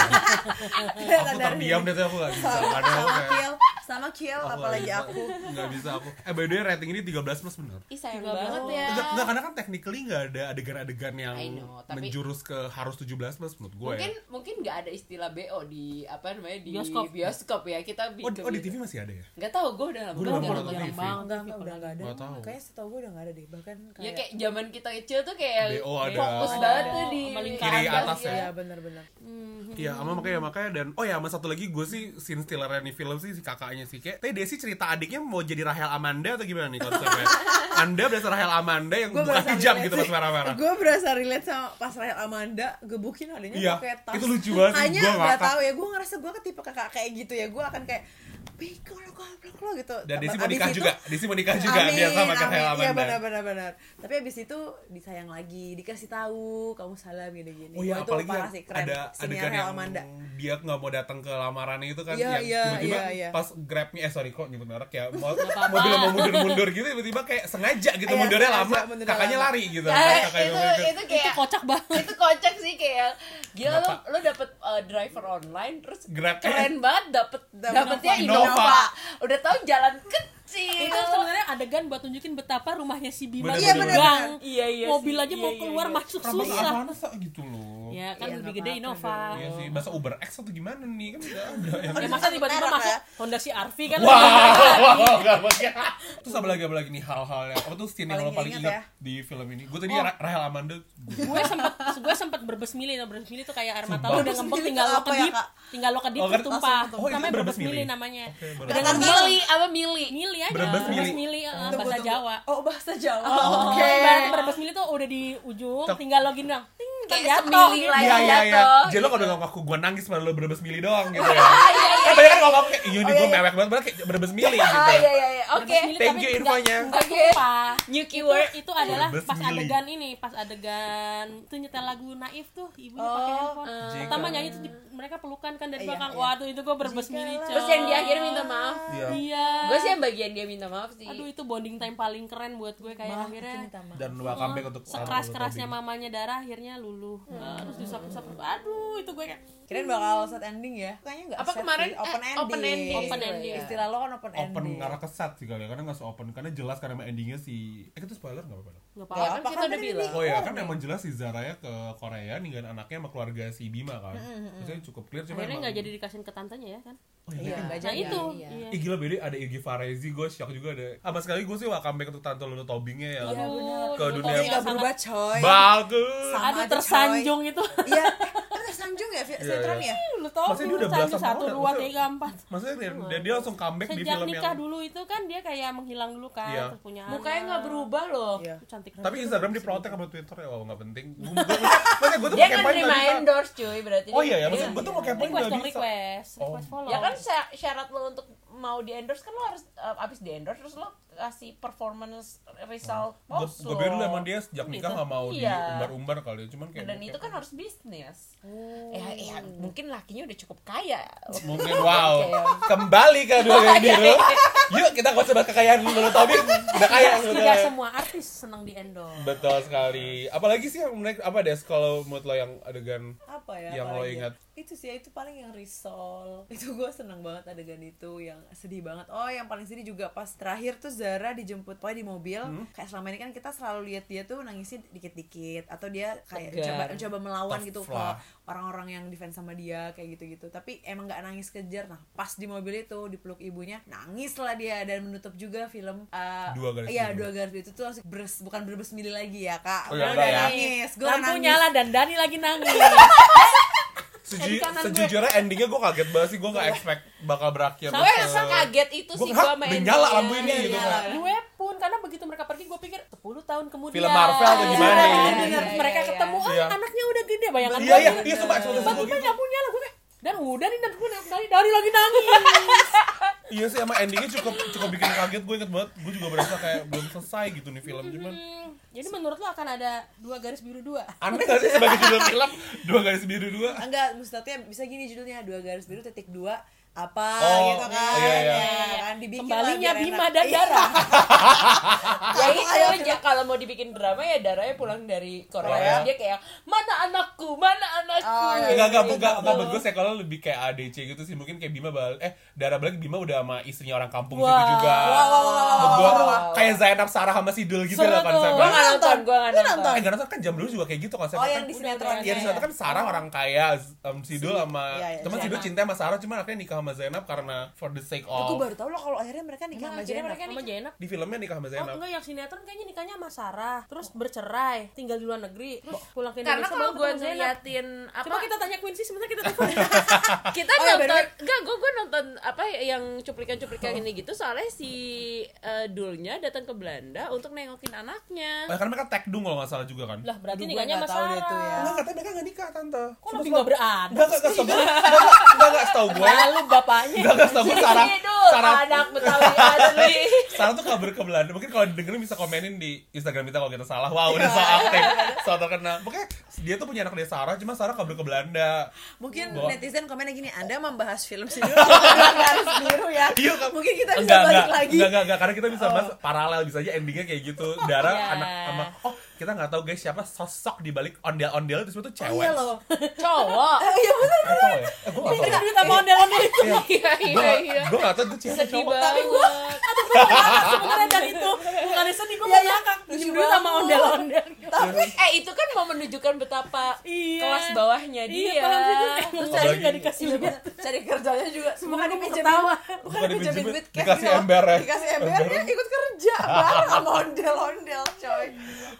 [SPEAKER 1] aku
[SPEAKER 4] dari-
[SPEAKER 1] terdiam deh tuh, aku nggak bisa.
[SPEAKER 4] Sama
[SPEAKER 1] Padahal
[SPEAKER 4] sama
[SPEAKER 1] kayak-
[SPEAKER 4] Kiel, sama Kiel
[SPEAKER 1] nggak
[SPEAKER 4] apalagi
[SPEAKER 1] bisa.
[SPEAKER 4] aku.
[SPEAKER 1] Nggak bisa aku. Eh by the way rating ini 13 plus bener.
[SPEAKER 5] ih sayang
[SPEAKER 2] Juga
[SPEAKER 5] banget ya
[SPEAKER 1] Enggak, enggak, karena kan technically nggak ada adegan-adegan yang
[SPEAKER 5] I know, tapi-
[SPEAKER 1] menjurus ke harus 17 plus menurut gue.
[SPEAKER 5] mungkin
[SPEAKER 1] ya.
[SPEAKER 5] mungkin nggak ada istilah bo di apa namanya di bioskop,
[SPEAKER 2] Bioskop.
[SPEAKER 5] ya kita bi-
[SPEAKER 1] Oh, di- oh, di TV masih ada ya?
[SPEAKER 5] nggak tahu gue udah lama
[SPEAKER 1] Gue udah
[SPEAKER 5] banget
[SPEAKER 1] lama
[SPEAKER 5] nggak
[SPEAKER 1] nonton
[SPEAKER 5] nonton.
[SPEAKER 1] TV.
[SPEAKER 4] Enggak, enggak,
[SPEAKER 2] gitu
[SPEAKER 4] udah
[SPEAKER 2] kan.
[SPEAKER 4] enggak ada.
[SPEAKER 1] Nggak tahu.
[SPEAKER 4] Kayaknya setahu gue udah enggak ada deh. Bahkan kayak
[SPEAKER 5] Ya kayak zaman kita kecil tuh kayak
[SPEAKER 1] BO ada.
[SPEAKER 5] Ya, fokus
[SPEAKER 1] Oh,
[SPEAKER 5] banget tuh di gitu
[SPEAKER 2] sama lingkaran
[SPEAKER 1] Kiri atas ya.
[SPEAKER 4] Iya, benar-benar.
[SPEAKER 1] Iya, ama makanya makanya dan oh ya, sama satu lagi gue sih scene stealer di film sih si kakaknya sih kayak. Tapi Desi cerita adiknya mau jadi Rahel Amanda atau gimana nih konsepnya? Anda berasa Rahel Amanda yang
[SPEAKER 4] Gua
[SPEAKER 1] bukan
[SPEAKER 4] berasa
[SPEAKER 1] hijab
[SPEAKER 4] relate
[SPEAKER 1] gitu
[SPEAKER 4] sih.
[SPEAKER 1] pas merah-merah.
[SPEAKER 4] Gue berasa relate sama pas Rahel Amanda gebukin adanya
[SPEAKER 1] Iya,
[SPEAKER 4] pakai tas.
[SPEAKER 1] itu lucu banget sih,
[SPEAKER 4] Hanya
[SPEAKER 1] gua
[SPEAKER 4] nggak
[SPEAKER 1] ngakak.
[SPEAKER 4] tahu ya, gue ngerasa gue ketipe kakak kayak gitu ya. Gue akan kayak bego lo goblok lo gitu.
[SPEAKER 1] Dan Desi
[SPEAKER 4] Abis
[SPEAKER 1] mau nikah
[SPEAKER 4] itu-
[SPEAKER 1] juga. Desi mau nikah juga dia sama kayak Rahel
[SPEAKER 4] Iya
[SPEAKER 1] Amanda.
[SPEAKER 4] benar benar benar. Tapi abis itu disayang lagi, dikasih tahu kamu salah gini gini.
[SPEAKER 1] Oh iya,
[SPEAKER 4] itu
[SPEAKER 1] apalagi
[SPEAKER 4] parah
[SPEAKER 1] yang
[SPEAKER 4] sih keren.
[SPEAKER 1] ada
[SPEAKER 4] Siniar
[SPEAKER 1] adegan
[SPEAKER 4] Rahel
[SPEAKER 1] yang
[SPEAKER 4] Amanda.
[SPEAKER 1] dia nggak mau datang ke lamaran itu kan
[SPEAKER 4] Iya,
[SPEAKER 1] yang
[SPEAKER 4] iya,
[SPEAKER 1] tiba-tiba
[SPEAKER 4] iya, iya.
[SPEAKER 1] pas grabnya eh sorry kok nyebut merek ya mau mobil mau mundur-mundur gitu tiba-tiba kayak sengaja gitu
[SPEAKER 4] Iya,
[SPEAKER 1] mundurnya
[SPEAKER 4] sengaja,
[SPEAKER 1] lama
[SPEAKER 4] mundurnya
[SPEAKER 1] kakaknya
[SPEAKER 4] lama.
[SPEAKER 1] lari gitu
[SPEAKER 5] Eh,
[SPEAKER 1] kakaknya
[SPEAKER 5] itu
[SPEAKER 1] mundur.
[SPEAKER 5] itu
[SPEAKER 2] itu
[SPEAKER 5] kayak
[SPEAKER 2] kocak banget
[SPEAKER 5] itu kocak sih kayak gila lo
[SPEAKER 1] Kenapa?
[SPEAKER 5] lo dapet uh, driver online terus
[SPEAKER 1] Grab. eh.
[SPEAKER 5] keren banget dapet
[SPEAKER 4] Dapet
[SPEAKER 5] dapetnya
[SPEAKER 1] Innova.
[SPEAKER 5] Innova. udah tahu jalan kecil
[SPEAKER 4] Iya.
[SPEAKER 2] itu sebenarnya adegan buat tunjukin betapa rumahnya si Bima
[SPEAKER 1] Bener,
[SPEAKER 2] iya,
[SPEAKER 1] bener,
[SPEAKER 4] bener.
[SPEAKER 5] iya iya
[SPEAKER 2] mobil
[SPEAKER 5] sih,
[SPEAKER 2] aja
[SPEAKER 5] iya,
[SPEAKER 2] mau
[SPEAKER 5] iya,
[SPEAKER 2] keluar
[SPEAKER 5] iya.
[SPEAKER 2] masuk
[SPEAKER 1] Rambut
[SPEAKER 2] susah
[SPEAKER 1] Avanza gitu loh
[SPEAKER 2] ya kan
[SPEAKER 4] Iya,
[SPEAKER 2] lebih
[SPEAKER 4] nggak
[SPEAKER 2] gede
[SPEAKER 4] apa-apa
[SPEAKER 2] Innova
[SPEAKER 1] Iya sih, bahasa Uber X atau gimana nih kan udah ada yang
[SPEAKER 2] ya masa tiba-tiba
[SPEAKER 4] Merek,
[SPEAKER 2] masuk
[SPEAKER 4] ya.
[SPEAKER 2] Honda CR-V kan
[SPEAKER 1] Wow, gak pakai. Terus apa lagi apa lagi nih hal-hal yang apa tuh scene yang
[SPEAKER 4] Iya. Paling
[SPEAKER 1] lo paling
[SPEAKER 4] ingat ya.
[SPEAKER 1] ingat di film ini? Gue tadi
[SPEAKER 2] Oh.
[SPEAKER 1] Ra- Rahel Amanda.
[SPEAKER 2] gue sempat gue sempat berbesmili nah berbesmili tuh kayak air mata lo udah ngempet
[SPEAKER 4] Berbesmili
[SPEAKER 2] tinggal
[SPEAKER 4] itu
[SPEAKER 2] lo
[SPEAKER 4] apa ya,
[SPEAKER 2] kedip
[SPEAKER 4] Kak?
[SPEAKER 2] tinggal lo kedip
[SPEAKER 1] Oh, kan-
[SPEAKER 2] tumpah
[SPEAKER 1] langsung- oh, itu
[SPEAKER 2] namanya
[SPEAKER 1] berbesmili.
[SPEAKER 2] berbesmili namanya
[SPEAKER 1] Oke, berbesmili.
[SPEAKER 2] dengan
[SPEAKER 5] mili apa mili
[SPEAKER 2] mili aja
[SPEAKER 1] Berbesmili.
[SPEAKER 2] berbesmili eh,
[SPEAKER 4] Tunggu,
[SPEAKER 2] bahasa
[SPEAKER 4] tunggu.
[SPEAKER 2] Jawa
[SPEAKER 4] Oh, bahasa Jawa.
[SPEAKER 2] Oh,
[SPEAKER 4] Oke.
[SPEAKER 2] ibarat berbesmili tuh udah di ujung
[SPEAKER 1] Tep-
[SPEAKER 2] tinggal lo gini dong ting
[SPEAKER 5] Kayak
[SPEAKER 2] terjatuh gitu.
[SPEAKER 5] semili lagi.
[SPEAKER 1] Iya iya iya.
[SPEAKER 5] ya, Jatuh,
[SPEAKER 1] Jadi lo kalau ngomong aku gue nangis malah lo berbes mili doang gitu ya.
[SPEAKER 5] iya,
[SPEAKER 1] Kan banyak kan ngomong kayak iya nih
[SPEAKER 4] Oh, iya,
[SPEAKER 1] gue
[SPEAKER 4] iya.
[SPEAKER 1] mewek banget padahal kayak berbes mili gitu.
[SPEAKER 5] ah iya iya iya oke
[SPEAKER 2] Berbesmili
[SPEAKER 1] Thank
[SPEAKER 2] tapi
[SPEAKER 1] you
[SPEAKER 2] nggak-
[SPEAKER 1] infonya.
[SPEAKER 2] nggak
[SPEAKER 5] Oke.
[SPEAKER 2] tumpah.
[SPEAKER 5] new
[SPEAKER 2] itu,
[SPEAKER 5] keyword
[SPEAKER 2] itu adalah pas
[SPEAKER 1] Berbesmili.
[SPEAKER 2] adegan ini pas adegan tuh nyetel lagu naif tuh ibunya pakai handphone
[SPEAKER 1] eh.
[SPEAKER 2] pertama nyanyi tuh di- mereka pelukan kan dari
[SPEAKER 4] Oh. Iya,
[SPEAKER 2] belakang
[SPEAKER 4] iya.
[SPEAKER 2] waduh itu gue berbesmili
[SPEAKER 4] Jikalau-
[SPEAKER 2] coy.
[SPEAKER 5] terus yang di akhir minta maaf
[SPEAKER 1] Iya.
[SPEAKER 2] iya
[SPEAKER 5] gue sih yang bagian dia minta maaf sih
[SPEAKER 2] aduh itu bonding time paling keren buat gue kayak akhirnya
[SPEAKER 1] Dan welcome back untuk
[SPEAKER 2] sekeras kerasnya mamanya darah akhirnya luluh Eh,
[SPEAKER 5] Mm. Nah,
[SPEAKER 2] terus diusap-usap aduh itu gue kayak
[SPEAKER 4] Kirain bakal set ending ya. Kayaknya enggak
[SPEAKER 5] Apa kemarin, eh,
[SPEAKER 4] open ending.
[SPEAKER 5] open ending.
[SPEAKER 2] Open ending.
[SPEAKER 4] Istilah lo kan open,
[SPEAKER 1] open
[SPEAKER 4] ending.
[SPEAKER 1] karena kesat sih kali ya karena nggak se-open karena jelas karena emang endingnya si eh itu spoiler nggak apa-apa dong?
[SPEAKER 2] nggak
[SPEAKER 4] Nggak
[SPEAKER 2] apa-apa
[SPEAKER 5] kan kita udah
[SPEAKER 4] tadi
[SPEAKER 5] bilang.
[SPEAKER 4] di-
[SPEAKER 1] Oh ya kan emang jelas si Zara ya ke Korea ninggalin anaknya sama keluarga si Bima kan. Maksudnya cukup clear cuma
[SPEAKER 2] akhirnya
[SPEAKER 1] emang-
[SPEAKER 2] nggak jadi dikasihin ke tantenya ya kan
[SPEAKER 1] Oh, iya,
[SPEAKER 4] Iya,
[SPEAKER 1] kan?
[SPEAKER 4] enggak
[SPEAKER 2] nah
[SPEAKER 4] jadi.
[SPEAKER 2] itu
[SPEAKER 5] iya.
[SPEAKER 2] iya.
[SPEAKER 1] Ih gila beda ada Irgi Farezi gue shock juga ada. Sama sekali gue sih welcome back untuk Tante Lulu Tobingnya ya.
[SPEAKER 2] Aduh,
[SPEAKER 1] Ke dunia-
[SPEAKER 2] Lulu Tobing
[SPEAKER 4] Tapi enggak
[SPEAKER 2] yang
[SPEAKER 4] berubah
[SPEAKER 2] sangat-
[SPEAKER 4] coy.
[SPEAKER 1] Bagus.
[SPEAKER 4] Sama
[SPEAKER 2] aduh
[SPEAKER 4] aja, coy.
[SPEAKER 2] tersanjung itu
[SPEAKER 4] Iya, kan tersanjung ya fi- sinetron
[SPEAKER 1] iya.
[SPEAKER 4] ya?
[SPEAKER 2] lu tau
[SPEAKER 1] Maksudnya dia udah belasan
[SPEAKER 2] satu
[SPEAKER 1] tahun ya,
[SPEAKER 2] dua
[SPEAKER 1] maksudnya-
[SPEAKER 2] tiga empat
[SPEAKER 1] Maksudnya dia,
[SPEAKER 5] Iya.
[SPEAKER 1] dia, dia langsung comeback di
[SPEAKER 2] sejak
[SPEAKER 1] film
[SPEAKER 2] nikah
[SPEAKER 1] yang
[SPEAKER 2] dulu itu kan dia kayak menghilang dulu kan
[SPEAKER 1] Iya.
[SPEAKER 2] terus punya
[SPEAKER 5] mukanya
[SPEAKER 2] anak.
[SPEAKER 5] nggak berubah loh
[SPEAKER 4] Iya.
[SPEAKER 2] Itu cantik
[SPEAKER 1] tapi
[SPEAKER 2] banget.
[SPEAKER 1] Instagram diprotek sama Twitter ya wah nggak penting. Gua- gua- Maksudnya gue tuh
[SPEAKER 5] dia
[SPEAKER 1] mau
[SPEAKER 5] kan
[SPEAKER 1] campaign
[SPEAKER 5] terima
[SPEAKER 1] nggak bisa.
[SPEAKER 5] endorse cuy berarti
[SPEAKER 1] Oh
[SPEAKER 5] dia-
[SPEAKER 1] iya ya, maksudnya gue tuh mau campaign
[SPEAKER 2] request
[SPEAKER 1] nggak
[SPEAKER 2] dong
[SPEAKER 1] bisa.
[SPEAKER 2] request
[SPEAKER 1] Oh.
[SPEAKER 2] request follow
[SPEAKER 5] ya kan sya- syarat lo untuk mau di endorse kan lo harus uh, abis di endorse terus lo kasih performance result
[SPEAKER 1] Gue
[SPEAKER 5] post
[SPEAKER 1] gue
[SPEAKER 5] lo.
[SPEAKER 1] bilang dulu emang dia sejak nikah nggak mau
[SPEAKER 5] Oh, Iya.
[SPEAKER 1] diumbar-umbar kali, ya, cuman kayak gitu.
[SPEAKER 5] dan
[SPEAKER 1] mau
[SPEAKER 5] itu kan
[SPEAKER 1] campaign.
[SPEAKER 5] harus bisnis ya, ya mungkin lakinya udah cukup kaya
[SPEAKER 1] mungkin wow
[SPEAKER 5] ya.
[SPEAKER 1] kembali ke dua yang biru. Yuk kita nggak usah bahas kekayaan Lulu Tobing udah kaya.
[SPEAKER 2] Tidak-
[SPEAKER 1] udah
[SPEAKER 2] tidak
[SPEAKER 1] kaya.
[SPEAKER 2] semua artis senang di endorse
[SPEAKER 1] Betul sekali. Apalagi sih yang menarik apa deh kalau menurut lo yang adegan
[SPEAKER 4] apa ya
[SPEAKER 1] Yang lo
[SPEAKER 4] apalagi ya?
[SPEAKER 1] ingat.
[SPEAKER 4] itu sih ya, itu paling yang risol itu gue seneng banget adegan itu yang sedih banget oh yang paling sedih juga pas terakhir tuh Zara dijemput pokoknya di mobil
[SPEAKER 1] Hmm?
[SPEAKER 4] kayak selama ini kan kita selalu lihat dia tuh nangisnya dikit-dikit atau dia kayak
[SPEAKER 5] Tegar.
[SPEAKER 4] coba coba melawan
[SPEAKER 1] Tough
[SPEAKER 4] gitu ke
[SPEAKER 1] lah.
[SPEAKER 4] orang-orang yang defense sama dia kayak gitu-gitu tapi emang nggak nangis kejar nah pas di mobil itu dipeluk ibunya nangis lah dia dan menutup juga film eh,
[SPEAKER 1] Dua garis
[SPEAKER 4] iya
[SPEAKER 1] biru.
[SPEAKER 4] dua garis biru itu tuh langsung beres bukan berbes lagi ya kak
[SPEAKER 1] Oh, iya,
[SPEAKER 4] Karena
[SPEAKER 1] enggak
[SPEAKER 4] udah
[SPEAKER 1] ya.
[SPEAKER 4] nangis gue
[SPEAKER 2] lampu
[SPEAKER 4] nangis
[SPEAKER 2] nyala dan Dani lagi nangis
[SPEAKER 1] Seju-
[SPEAKER 5] Di kanan gue.
[SPEAKER 1] sejujurnya endingnya gue kaget banget sih gue gak expect bakal berakhir
[SPEAKER 5] Gue rasa kaget itu
[SPEAKER 1] Gua,
[SPEAKER 5] sih
[SPEAKER 1] "Hah,
[SPEAKER 5] gue main.
[SPEAKER 1] udah nyala lampu ini," gitu kan.
[SPEAKER 2] gue pun karena begitu mereka pergi gue pikir 10 tahun kemudian
[SPEAKER 1] Film Marvel atau gimana
[SPEAKER 2] Iya,
[SPEAKER 1] gitu.
[SPEAKER 2] bener.
[SPEAKER 5] Iya,
[SPEAKER 2] mereka
[SPEAKER 5] iya,
[SPEAKER 2] ketemu ah
[SPEAKER 1] Iya.
[SPEAKER 2] anaknya udah gede bayangan
[SPEAKER 1] iya
[SPEAKER 2] gue
[SPEAKER 1] iya
[SPEAKER 2] gitu.
[SPEAKER 1] iya sumpah ekspektasi gue
[SPEAKER 2] tiba-tiba
[SPEAKER 1] gitu
[SPEAKER 2] lampu nyala gue kayak dan udah nih dan gue nangis dari lagi nangis
[SPEAKER 1] iya sih emang endingnya cukup cukup bikin kaget gue inget banget gue juga berasa kayak belum selesai gitu nih film cuman
[SPEAKER 2] Hmm, jadi menurut lo akan ada dua garis biru dua
[SPEAKER 1] aneh gak sih sebagai judul film dua garis biru dua
[SPEAKER 4] enggak maksudnya bisa gini judulnya dua garis biru titik dua apa
[SPEAKER 1] Oh,
[SPEAKER 4] gitu kan
[SPEAKER 1] iya, iya.
[SPEAKER 4] Ya, kan dibikin
[SPEAKER 2] kembalinya
[SPEAKER 4] lah biar
[SPEAKER 2] Bima
[SPEAKER 4] enak.
[SPEAKER 2] dan
[SPEAKER 4] Iya,
[SPEAKER 2] Dara
[SPEAKER 5] Ya itu aja kalau mau dibikin drama ya darahnya pulang dari Korea.
[SPEAKER 1] Korea.
[SPEAKER 5] Dia kayak mana anakku, mana anakku.
[SPEAKER 4] Oh, iya.
[SPEAKER 1] Enggak, enggak,
[SPEAKER 4] Gitu.
[SPEAKER 1] enggak, enggak, menurut gue sih kalau lebih kayak ADC gitu sih Mungkin kayak Bima bal Eh, Dara balik Bima udah sama istrinya orang kampung
[SPEAKER 2] Wah.
[SPEAKER 1] gitu juga
[SPEAKER 4] Wah, wah, wah, wah,
[SPEAKER 1] Menurut
[SPEAKER 4] wah,
[SPEAKER 1] gua
[SPEAKER 4] wah.
[SPEAKER 1] Kayak Zainab Sarah sama Sidul gitu
[SPEAKER 2] Seru
[SPEAKER 1] loh
[SPEAKER 2] tuh.
[SPEAKER 1] konsepnya
[SPEAKER 5] Gua nggak
[SPEAKER 4] Lu
[SPEAKER 5] nonton, gua nggak
[SPEAKER 4] Lu
[SPEAKER 5] nonton.
[SPEAKER 1] Eh, gak nonton kan jam dulu juga kayak gitu konsepnya
[SPEAKER 4] Oh
[SPEAKER 1] kan
[SPEAKER 4] yang di
[SPEAKER 2] udah,
[SPEAKER 4] sinetron
[SPEAKER 2] udah,
[SPEAKER 1] Iya, di sana
[SPEAKER 4] ya.
[SPEAKER 1] kan Sarah orang kaya, um, Sidul sama
[SPEAKER 4] Iya, iya,
[SPEAKER 1] Cuman
[SPEAKER 4] Zainab.
[SPEAKER 1] Sidul cinta sama Sarah, cuman akhirnya nikah sama Zainab karena for the sake of
[SPEAKER 4] Aku baru tau loh kalau akhirnya mereka nikah sama
[SPEAKER 5] akhirnya
[SPEAKER 4] Jenna.
[SPEAKER 5] mereka
[SPEAKER 2] sama Jenap
[SPEAKER 1] Di filmnya nikah sama
[SPEAKER 2] Oh
[SPEAKER 1] Zainab
[SPEAKER 2] enggak yang sinetron kayaknya nikahnya sama Sarah Terus bercerai Tinggal di luar negeri Terus pulang ke
[SPEAKER 5] Karena
[SPEAKER 2] Indonesia baru
[SPEAKER 5] kalau gue
[SPEAKER 2] ketemu Zainab.
[SPEAKER 5] ngeliatin apa
[SPEAKER 2] Coba kita tanya Quincy sebentar kita telepon
[SPEAKER 5] kita
[SPEAKER 4] Oh, iya,
[SPEAKER 5] nonton
[SPEAKER 4] bener-bener.
[SPEAKER 5] enggak gue gue nonton apa ya, yang cuplikan-cuplikan ini gitu soalnya si eh, dulnya datang ke Belanda untuk nengokin anaknya
[SPEAKER 1] Eh, Karena mereka tag dong kalau gak salah juga kan
[SPEAKER 2] Lah berarti
[SPEAKER 4] Aduh, gue
[SPEAKER 2] nikahnya sama
[SPEAKER 4] nggak tahu deh
[SPEAKER 2] Sarah
[SPEAKER 4] tuh ya.
[SPEAKER 1] Enggak, katanya mereka gak nikah, Tante
[SPEAKER 2] Kok lebih gak beradab
[SPEAKER 1] Enggak, enggak, enggak, setau gue Enggak, enggak, setau gue
[SPEAKER 2] Lalu bapaknya
[SPEAKER 1] Enggak, enggak, setau gue Sarah
[SPEAKER 5] Ini dulu,
[SPEAKER 1] Sarah
[SPEAKER 5] anak Betawi asli
[SPEAKER 1] Sarah tuh kabur ke Belanda. Mungkin kalau dengerin bisa komenin di Instagram kita kalau kita salah. Wow, udah so aktif, so terkenal. Pokoknya dia tuh punya anak dari Sarah, cuma Sarah kabur ke Belanda.
[SPEAKER 4] Mungkin
[SPEAKER 1] Gua-
[SPEAKER 4] netizen komennya gini, Anda membahas film sih dulu dua garis biru ya.
[SPEAKER 1] Iya, Kak.
[SPEAKER 4] Mungkin kita bisa
[SPEAKER 1] enggak,
[SPEAKER 4] balik
[SPEAKER 1] enggak,
[SPEAKER 4] lagi.
[SPEAKER 1] Enggak, enggak, enggak, karena kita bisa bahas paralel bisa aja endingnya kayak gitu. Dara
[SPEAKER 5] Iya.
[SPEAKER 1] anak sama oh, kita nggak tahu guys siapa sosok di balik ondel-ondel itu sebetulnya
[SPEAKER 4] Oh,
[SPEAKER 1] cewek.
[SPEAKER 4] iya loh.
[SPEAKER 5] cowok
[SPEAKER 4] Eh, Iya bener.
[SPEAKER 1] Nggak tahu ya? Eh, gue nggak
[SPEAKER 2] Enggak
[SPEAKER 1] tahu.
[SPEAKER 2] duit sama ondel-ondel itu
[SPEAKER 1] Iya.
[SPEAKER 5] iya
[SPEAKER 1] Gue
[SPEAKER 5] iya
[SPEAKER 1] nggak-
[SPEAKER 5] iya
[SPEAKER 1] gue nggak tahu itu cewek
[SPEAKER 5] sedih
[SPEAKER 1] cowok.
[SPEAKER 5] banget
[SPEAKER 2] Sebenernya dari itu Bukannya sedih gue
[SPEAKER 4] Iya,
[SPEAKER 2] mau
[SPEAKER 4] iya.
[SPEAKER 2] ngakak
[SPEAKER 4] Lucu
[SPEAKER 2] Duit sama
[SPEAKER 4] banget.
[SPEAKER 2] ondel-ondel
[SPEAKER 4] Tapi
[SPEAKER 5] eh itu kan mau menunjukkan betapa
[SPEAKER 2] Iya.
[SPEAKER 5] kelas bawahnya dia
[SPEAKER 2] Iya paham sih gue Terus
[SPEAKER 1] Apalagi-
[SPEAKER 2] saya gak dikasih duit
[SPEAKER 4] cari kerjanya juga bukan
[SPEAKER 2] gue
[SPEAKER 4] dipinjemin
[SPEAKER 2] ketawa.
[SPEAKER 4] bukan
[SPEAKER 1] Bukan
[SPEAKER 4] dipinjemin
[SPEAKER 1] dipinjemin,
[SPEAKER 4] duit
[SPEAKER 1] dikasih ya?
[SPEAKER 4] casino.
[SPEAKER 1] embernya.
[SPEAKER 4] dikasih embernya ikut kerja bareng sama ondel ondel coy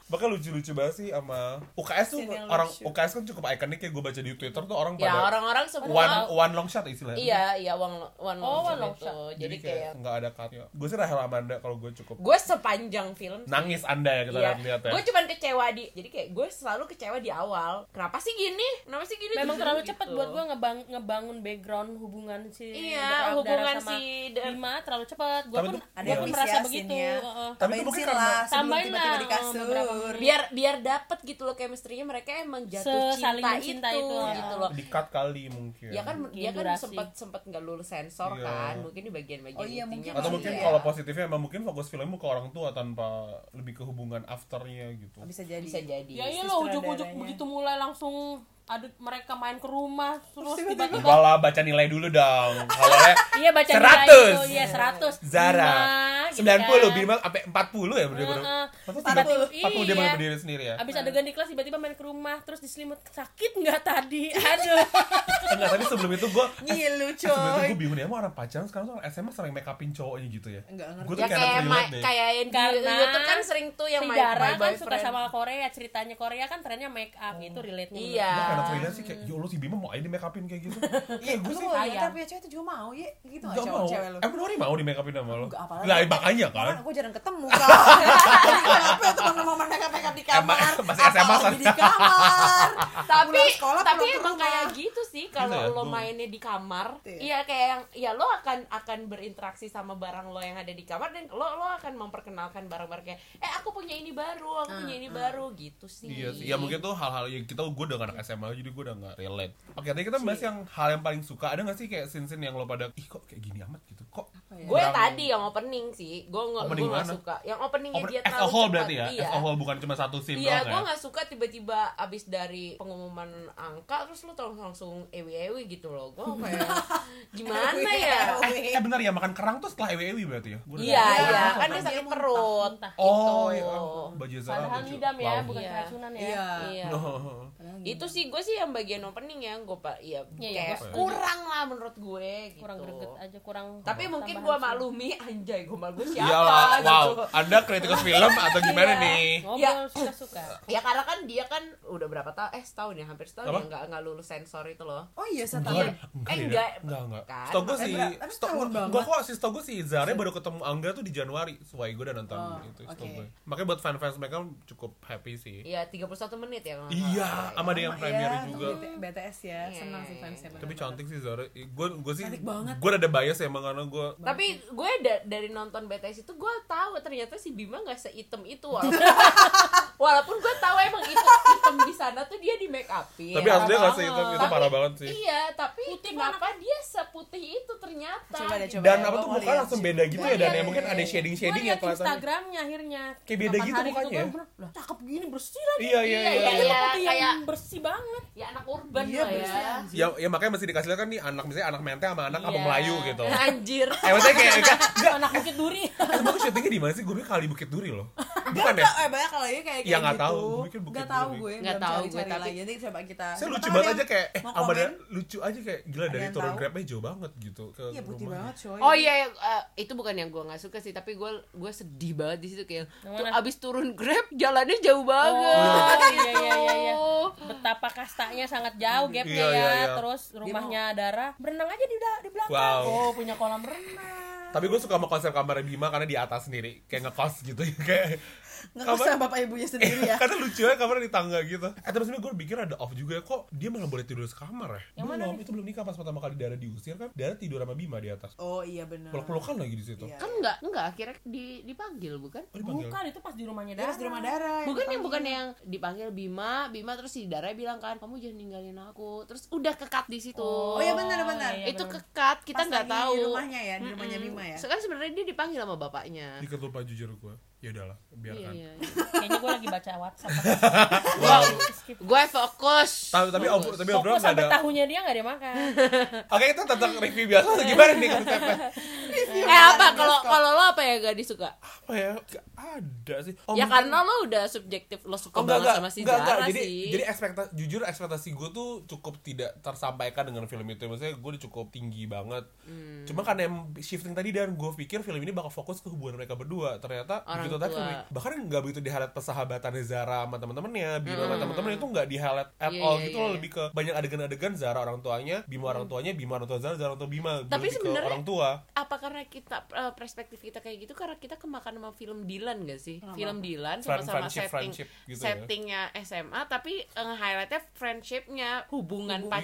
[SPEAKER 1] Bahkan lucu-lucu banget sih sama UKS tuh
[SPEAKER 4] Scene yang
[SPEAKER 1] orang
[SPEAKER 4] lucu.
[SPEAKER 1] UKS kan cukup ikonik ya gue baca di Twitter tuh orang
[SPEAKER 5] ya
[SPEAKER 1] pada
[SPEAKER 5] orang-orang
[SPEAKER 1] one
[SPEAKER 5] semua
[SPEAKER 1] one long shot istilahnya.
[SPEAKER 5] iya iya one one
[SPEAKER 2] Oh, one
[SPEAKER 5] long
[SPEAKER 2] long
[SPEAKER 5] shot
[SPEAKER 2] shot.
[SPEAKER 5] itu. jadi kayak
[SPEAKER 1] nggak ada cut gue sih Rahel Amanda kalau gue cukup
[SPEAKER 5] gue sepanjang film
[SPEAKER 1] nangis anda ya kita
[SPEAKER 5] Iya,
[SPEAKER 1] lihat ya
[SPEAKER 5] gue cuman kecewa di, jadi kayak gue selalu kecewa di awal. Kenapa sih gini? Kenapa sih gini?
[SPEAKER 2] Memang
[SPEAKER 5] Terus
[SPEAKER 2] terlalu
[SPEAKER 5] gitu.
[SPEAKER 2] cepat buat gue ngebang- ngebangun background hubungan si
[SPEAKER 5] Iya,
[SPEAKER 2] Dara-
[SPEAKER 5] hubungan
[SPEAKER 2] sama
[SPEAKER 5] si Da-
[SPEAKER 2] Bima terlalu cepat. Gue
[SPEAKER 1] Tapi
[SPEAKER 2] pun
[SPEAKER 1] tuh-
[SPEAKER 4] ada
[SPEAKER 2] gue
[SPEAKER 1] yang
[SPEAKER 2] pun merasa
[SPEAKER 4] inisiasinya.
[SPEAKER 2] begitu.
[SPEAKER 5] ya.
[SPEAKER 2] heeh.
[SPEAKER 1] Iya. Tapi itu
[SPEAKER 4] tambahin
[SPEAKER 1] mungkin
[SPEAKER 4] sih
[SPEAKER 1] karena-
[SPEAKER 4] lah sebelum
[SPEAKER 2] Tambahin
[SPEAKER 4] tiba-tiba
[SPEAKER 2] lah,
[SPEAKER 4] di
[SPEAKER 2] oh, beberapa
[SPEAKER 4] kasur
[SPEAKER 2] menit.
[SPEAKER 5] biar biar dapet gitu loh chemistry-nya mereka emang jatuh
[SPEAKER 2] Se-saling
[SPEAKER 5] cinta,
[SPEAKER 2] mencinta
[SPEAKER 5] itu,
[SPEAKER 2] itu, ya.
[SPEAKER 5] gitu loh.
[SPEAKER 1] di cut kali mungkin
[SPEAKER 5] Ya kan dia kan
[SPEAKER 2] durasi.
[SPEAKER 5] sempat sempat nggak lulus sensor
[SPEAKER 1] Iya.
[SPEAKER 5] kan, mungkin di bagian-bagian
[SPEAKER 4] Oh
[SPEAKER 5] ya.
[SPEAKER 4] iya,
[SPEAKER 5] intinya
[SPEAKER 4] mungkin
[SPEAKER 1] atau
[SPEAKER 4] Iya.
[SPEAKER 1] mungkin
[SPEAKER 4] Iya.
[SPEAKER 1] kalau positifnya emang mungkin fokus filmmu ke orang tua tanpa lebih ke hubungan afternya gitu
[SPEAKER 4] Iya. bisa jadi
[SPEAKER 5] bisa jadi.
[SPEAKER 2] Ya iya lo ujuk-ujuk
[SPEAKER 4] sutradaranya.
[SPEAKER 2] begitu mulai langsung ada mereka main ke rumah terus
[SPEAKER 4] tiba-tiba-
[SPEAKER 2] tiba-tiba
[SPEAKER 1] Enggak lah, baca nilai dulu dong awalnya
[SPEAKER 2] Iya baca nilai
[SPEAKER 1] 100.
[SPEAKER 2] itu, iya 100.
[SPEAKER 1] Zara
[SPEAKER 2] Bima,
[SPEAKER 1] sembilan puluh
[SPEAKER 2] gitu kan.
[SPEAKER 1] Bima sampai empat puluh ya berdiri berdiri
[SPEAKER 2] Iya, Heeh.
[SPEAKER 1] empat puluh
[SPEAKER 2] Tiba-tiba-
[SPEAKER 1] dia malah
[SPEAKER 2] iya.
[SPEAKER 1] berdiri sendiri ya
[SPEAKER 2] Abis adegan di kelas tiba-tiba main ke rumah terus diselimut sakit nggak tadi? Aduh.
[SPEAKER 1] enggak tapi sebelum itu gue
[SPEAKER 4] ngilu
[SPEAKER 1] sebelum itu
[SPEAKER 4] coy
[SPEAKER 1] gue bingung ya emang orang pacaran sekarang tuh orang SMA sering make upin cowoknya gitu ya
[SPEAKER 4] Enggak ngerti.
[SPEAKER 1] gue
[SPEAKER 5] Ya
[SPEAKER 1] tuh
[SPEAKER 5] kayak
[SPEAKER 1] kayak
[SPEAKER 5] ma-
[SPEAKER 1] relate deh.
[SPEAKER 5] kayak yang di
[SPEAKER 2] Karena
[SPEAKER 5] YouTube kan sering tuh yang
[SPEAKER 2] si
[SPEAKER 5] my-
[SPEAKER 2] Dara
[SPEAKER 5] my
[SPEAKER 2] kan suka
[SPEAKER 5] boyfriend.
[SPEAKER 2] sama Korea, ceritanya Korea kan trennya make up itu relate nya
[SPEAKER 5] Iya.
[SPEAKER 1] Gue karena trailer sih kayak, ya Allah si Bima mau aja di make upin kayak gitu Kayak gue
[SPEAKER 4] Iya, lu
[SPEAKER 1] sih
[SPEAKER 4] kalau
[SPEAKER 2] sayang.
[SPEAKER 4] tapi cewek itu juga mau ya gitu nggak
[SPEAKER 1] Gak
[SPEAKER 4] cowok
[SPEAKER 1] mau Eh,
[SPEAKER 4] cewek lu
[SPEAKER 1] Emang Nori mau di make upin sama lo?
[SPEAKER 4] Enggak, apalagi-
[SPEAKER 1] Lah makanya kan
[SPEAKER 4] Kan aku jarang ketemu kan. Jadi Kenapa ya teman-teman makeup-makeup di kamar?
[SPEAKER 1] Emang- masih
[SPEAKER 4] Apa
[SPEAKER 1] SMA,
[SPEAKER 4] hobi di kamar?
[SPEAKER 5] tapi
[SPEAKER 4] Pulang sekolah,
[SPEAKER 5] tapi
[SPEAKER 4] pulang ke
[SPEAKER 5] emang
[SPEAKER 4] rumah.
[SPEAKER 5] kayak gitu sih kalau
[SPEAKER 1] Gila,
[SPEAKER 5] lo
[SPEAKER 1] gua-
[SPEAKER 5] mainnya di kamar
[SPEAKER 4] Iya.
[SPEAKER 5] iya kayak yang ya lo akan akan berinteraksi sama barang lo yang ada di kamar dan lo lo akan memperkenalkan barang-barang kayak eh aku punya ini baru aku punya ini baru gitu sih
[SPEAKER 1] Iya sih, ya mungkin tuh hal-hal yang kita gue udah gak anak SMA jadi gue udah gak relate Oke tadi kita bahas yang hal yang paling suka, ada gak sih kayak scene-scene yang lo pada Ih kok kayak gini amat gitu, kok
[SPEAKER 4] ya?
[SPEAKER 5] gue
[SPEAKER 1] kurang-
[SPEAKER 5] tadi yang opening sih gue nggak
[SPEAKER 1] Opening
[SPEAKER 5] gue nggak
[SPEAKER 1] mana?
[SPEAKER 5] suka yang openingnya
[SPEAKER 1] Open-
[SPEAKER 5] dia
[SPEAKER 1] as
[SPEAKER 5] terlalu
[SPEAKER 1] a whole
[SPEAKER 5] cepat.
[SPEAKER 1] berarti ya?
[SPEAKER 5] iya.
[SPEAKER 1] As a whole bukan cuma satu scene
[SPEAKER 5] Iya, gue
[SPEAKER 1] doang ya?
[SPEAKER 5] gak suka tiba-tiba abis dari pengumuman angka terus lo tolong langsung ewi-ewi gitu loh Gue kayak gimana
[SPEAKER 4] Iya.
[SPEAKER 5] ya?
[SPEAKER 1] Eh, eh bentar ya, makan kerang tuh setelah ewe-ewe berti ya? Gua udah-
[SPEAKER 5] Iya,
[SPEAKER 1] gua udah
[SPEAKER 5] iya,
[SPEAKER 1] nonton.
[SPEAKER 5] kan dia sakit perut.
[SPEAKER 2] muntah.
[SPEAKER 1] Oh,
[SPEAKER 5] gitu.
[SPEAKER 1] iya, ampun. Baju Zara
[SPEAKER 2] Padahal
[SPEAKER 1] baju-
[SPEAKER 2] ngidam ya,
[SPEAKER 1] wow.
[SPEAKER 2] bukan
[SPEAKER 5] Iya.
[SPEAKER 2] keracunan ya.
[SPEAKER 4] Iya.
[SPEAKER 5] Iya.
[SPEAKER 1] Oh.
[SPEAKER 4] Padahal gimana?
[SPEAKER 5] itu sih gue sih yang bagian opening ya gue pak ya
[SPEAKER 2] Iya, iya,
[SPEAKER 5] kayak
[SPEAKER 2] gua setuju.
[SPEAKER 5] kurang lah menurut gue gitu
[SPEAKER 2] kurang greget aja kurang
[SPEAKER 5] tapi mungkin gue
[SPEAKER 2] tambahan sih.
[SPEAKER 5] maklumi anjay gue malu siapa
[SPEAKER 1] Iyalah,
[SPEAKER 5] gitu.
[SPEAKER 1] wow. Anda kritikus film atau gimana
[SPEAKER 5] Iya.
[SPEAKER 1] nih?
[SPEAKER 2] ngobrol suka suka
[SPEAKER 5] ya karena kan dia kan udah berapa tahun eh setahun ya hampir setahun
[SPEAKER 1] Apa?
[SPEAKER 5] ya nggak nggak lulus sensor itu loh
[SPEAKER 4] Oh iya, saya tahu.
[SPEAKER 1] Enggak, enggak,
[SPEAKER 5] Eh,
[SPEAKER 1] enggak,
[SPEAKER 5] enggak.
[SPEAKER 1] enggak, enggak.
[SPEAKER 5] Kan,
[SPEAKER 1] Setahu gue
[SPEAKER 4] makanya
[SPEAKER 1] sih,
[SPEAKER 4] enggak.
[SPEAKER 1] setahu
[SPEAKER 4] Tapi setahun
[SPEAKER 1] gue,
[SPEAKER 4] banget.
[SPEAKER 1] gue kok sih setahu gue sih Zare baru ketemu Angga tuh di Januari, sesuai gue udah nonton
[SPEAKER 4] Oh,
[SPEAKER 1] itu setahu
[SPEAKER 4] oke.
[SPEAKER 1] gue. Makanya buat fans-fans mereka cukup happy sih.
[SPEAKER 5] ya 31 menit ya kalau nggak
[SPEAKER 1] Iya,
[SPEAKER 5] salah.
[SPEAKER 1] sama ada yang
[SPEAKER 4] Sama
[SPEAKER 1] premiere
[SPEAKER 4] ya,
[SPEAKER 1] juga.
[SPEAKER 4] tuh BT- BTS ya,
[SPEAKER 5] Iya,
[SPEAKER 4] senang sih
[SPEAKER 5] iya,
[SPEAKER 4] fansnya.
[SPEAKER 1] Tapi
[SPEAKER 4] bener-bener.
[SPEAKER 1] cantik sih Zara. Gue gue sih
[SPEAKER 4] Cantik banget.
[SPEAKER 1] Gue ada bias ya emang karena gue
[SPEAKER 5] tapi gue da- dari nonton BTS itu gue tahu ternyata si Bima nggak seitem itu walaupun walaupun gue tahu emang itu item di sana tuh dia di make upin
[SPEAKER 1] Tapi aslinya nggak sih
[SPEAKER 2] parah
[SPEAKER 1] itu, itu
[SPEAKER 5] banget.
[SPEAKER 1] parah banget sih.
[SPEAKER 5] Iya, tapi
[SPEAKER 2] Putih
[SPEAKER 5] kenapa dia seputih itu ternyata?
[SPEAKER 4] Coba deh,
[SPEAKER 5] gitu.
[SPEAKER 4] coba.
[SPEAKER 1] Dan
[SPEAKER 4] Coba,
[SPEAKER 1] apa
[SPEAKER 4] gua
[SPEAKER 1] tuh
[SPEAKER 4] mau
[SPEAKER 1] muka
[SPEAKER 4] lihat
[SPEAKER 1] langsung
[SPEAKER 4] sih.
[SPEAKER 1] beda gitu ya dan
[SPEAKER 5] Iya,
[SPEAKER 1] ya mungkin ada
[SPEAKER 5] iya.
[SPEAKER 1] shading
[SPEAKER 2] gue
[SPEAKER 1] shading ya
[SPEAKER 2] liat
[SPEAKER 1] kelihatannya.
[SPEAKER 2] Instagramnya akhirnya
[SPEAKER 1] Kayak beda
[SPEAKER 2] Kapan
[SPEAKER 1] gitu
[SPEAKER 2] hari
[SPEAKER 1] mukanya
[SPEAKER 2] gua
[SPEAKER 1] ya?
[SPEAKER 2] bilang, lah cakep gini bersih lagi
[SPEAKER 1] Iya iya
[SPEAKER 5] Iya,
[SPEAKER 1] iya.
[SPEAKER 5] iya, iya.
[SPEAKER 2] putih yang
[SPEAKER 5] kayak-
[SPEAKER 2] bersih banget
[SPEAKER 5] Ya anak urban
[SPEAKER 4] Iya,
[SPEAKER 5] lah
[SPEAKER 4] bersih,
[SPEAKER 5] ya.
[SPEAKER 4] anjir.
[SPEAKER 1] Ya, ya makanya masih dikasih lihat kan nih anak misalnya anak menteng sama anak abang
[SPEAKER 5] Iya.
[SPEAKER 1] Melayu gitu.
[SPEAKER 5] Anjir.
[SPEAKER 1] Eh maksudnya kayak enggak enggak
[SPEAKER 2] anak bukit duri
[SPEAKER 1] emang syutingnya di mana sih? Gue pikir Kali Bukit Duri loh. Bukan ya?
[SPEAKER 4] Enggak, eh banyak kalau ini kayak
[SPEAKER 1] Ya,
[SPEAKER 4] kayak
[SPEAKER 1] nggak
[SPEAKER 4] gitu.
[SPEAKER 1] tahu. Gua pikir Bukit
[SPEAKER 4] Nggak tahu
[SPEAKER 1] Duri.
[SPEAKER 4] gue,
[SPEAKER 5] Nggak
[SPEAKER 4] belum
[SPEAKER 5] tahu
[SPEAKER 4] cari-cari
[SPEAKER 5] gue, tapi-
[SPEAKER 4] lagi. Nanti coba kita.
[SPEAKER 1] Saya
[SPEAKER 4] Siapa
[SPEAKER 1] lucu
[SPEAKER 4] tahu
[SPEAKER 1] banget
[SPEAKER 4] ada
[SPEAKER 1] aja
[SPEAKER 4] yang
[SPEAKER 1] kayak eh,
[SPEAKER 4] mau
[SPEAKER 1] Amanda
[SPEAKER 4] komen.
[SPEAKER 1] lucu aja kayak gila
[SPEAKER 4] Ada
[SPEAKER 1] dari
[SPEAKER 4] yang
[SPEAKER 1] turun
[SPEAKER 4] tahu?
[SPEAKER 1] grabnya jauh banget gitu ke
[SPEAKER 4] Iya putih
[SPEAKER 1] rumahnya.
[SPEAKER 4] banget coy.
[SPEAKER 5] Oh iya, eh, itu bukan yang gue nggak suka sih, tapi gue gue sedih banget di situ kayak
[SPEAKER 2] Yang
[SPEAKER 5] tuh
[SPEAKER 2] mana?
[SPEAKER 5] abis turun grab jalannya jauh banget.
[SPEAKER 2] Oh, iya, iya, iya, iya. betapa kastanya sangat jauh gapnya
[SPEAKER 1] Iya, iya,
[SPEAKER 2] ya
[SPEAKER 1] iya.
[SPEAKER 2] terus rumahnya Dara berenang aja di da- di belakang
[SPEAKER 1] Wow.
[SPEAKER 2] oh punya kolam renang
[SPEAKER 1] Tapi gue suka sama konsep kamar Bima karena di atas sendiri Kayak ngekos gitu kayak
[SPEAKER 4] Nggak usah bapak ibunya sendiri ya.
[SPEAKER 1] Karena lucu aja kamarnya di tangga gitu Eh terus ini gue pikir ada off juga ya Kok dia malah boleh tidur sekamar ya?
[SPEAKER 2] Yang mana
[SPEAKER 1] belum, itu belum nikah pas pertama kali Dara diusir kan Dara tidur sama Bima di atas
[SPEAKER 4] Oh iya benar.
[SPEAKER 1] Peluk-pelukan lagi di situ
[SPEAKER 4] Iya.
[SPEAKER 5] Kan nggak nggak akhirnya di, dipanggil bukan?
[SPEAKER 1] Oh dipanggil
[SPEAKER 2] bukan itu pas di rumahnya Dara
[SPEAKER 4] Dia
[SPEAKER 2] Iya,
[SPEAKER 4] harus di rumah darah.
[SPEAKER 5] Bukan Kan yang bukan yang dipanggil Bima, Bima terus si Dara bilang kan kamu jangan ninggalin aku, terus udah kekat di situ.
[SPEAKER 4] Oh iya benar benar.
[SPEAKER 2] iya,
[SPEAKER 5] itu
[SPEAKER 2] bener.
[SPEAKER 5] kekat kita nggak tahu.
[SPEAKER 4] Di rumahnya ya, di rumahnya Bima ya.
[SPEAKER 5] Sekarang sebenarnya dia dipanggil sama bapaknya.
[SPEAKER 1] Dikit lupa jujur gue Ya udahlah biarkan
[SPEAKER 5] Iya, iya.
[SPEAKER 2] kayaknya gue lagi baca WhatsApp
[SPEAKER 1] Wow
[SPEAKER 2] skip
[SPEAKER 5] Gue fokus.
[SPEAKER 1] Tapi tapi off, tapi obrolan
[SPEAKER 2] fokus
[SPEAKER 1] nggak
[SPEAKER 2] sampai
[SPEAKER 1] ada.
[SPEAKER 2] tahunya dia nggak dia makan
[SPEAKER 1] Oke itu tentang review biasa atau gimana nih konsepnya?
[SPEAKER 5] eh apa kalau kalau lo apa yang gak disuka?
[SPEAKER 1] Apa ya? Gak ada sih. Oh,
[SPEAKER 5] ya
[SPEAKER 1] mungkin-
[SPEAKER 5] karena lo udah subjektif lo suka
[SPEAKER 1] Oh, enggak,
[SPEAKER 5] banget
[SPEAKER 1] enggak,
[SPEAKER 5] sama si
[SPEAKER 1] enggak, enggak.
[SPEAKER 5] Zara
[SPEAKER 1] jadi,
[SPEAKER 5] sih.
[SPEAKER 1] Jadi ekspektasi, jujur ekspektasi gue tuh cukup tidak tersampaikan dengan film itu. Maksudnya gue udah cukup tinggi banget.
[SPEAKER 5] Hmm.
[SPEAKER 1] Cuma karena yang shifting tadi dan gue pikir film ini bakal fokus ke hubungan mereka berdua. Ternyata
[SPEAKER 5] Orang
[SPEAKER 1] begitu tadi
[SPEAKER 5] tua.
[SPEAKER 1] film ini- bahkan nggak begitu di highlight persahabatannya Zara sama teman-temannya, Bima sama teman-temannya itu nggak di highlight at
[SPEAKER 5] Hmm. Iya,
[SPEAKER 1] all gitu loh.
[SPEAKER 5] iya, iya, iya. Hmm.
[SPEAKER 1] Lebih ke banyak adegan-adegan Zara orang tuanya, Bima orang tuanya, Bima orang tua Zara, Zara orang tua Bima.
[SPEAKER 5] Tapi
[SPEAKER 1] Lebih ke
[SPEAKER 5] sebenarnya-
[SPEAKER 1] orang tua.
[SPEAKER 5] apa karena kita eh, perspektif kita kayak gitu karena kita kemakan sama film Dylan gak sih? Film Dylan
[SPEAKER 1] Friend-
[SPEAKER 5] sama-sama
[SPEAKER 1] friendship-
[SPEAKER 5] setting
[SPEAKER 1] friendship gitu ya.
[SPEAKER 5] settingnya SMA tapi eh, highlightnya friendshipnya hubungan
[SPEAKER 1] Hubungan.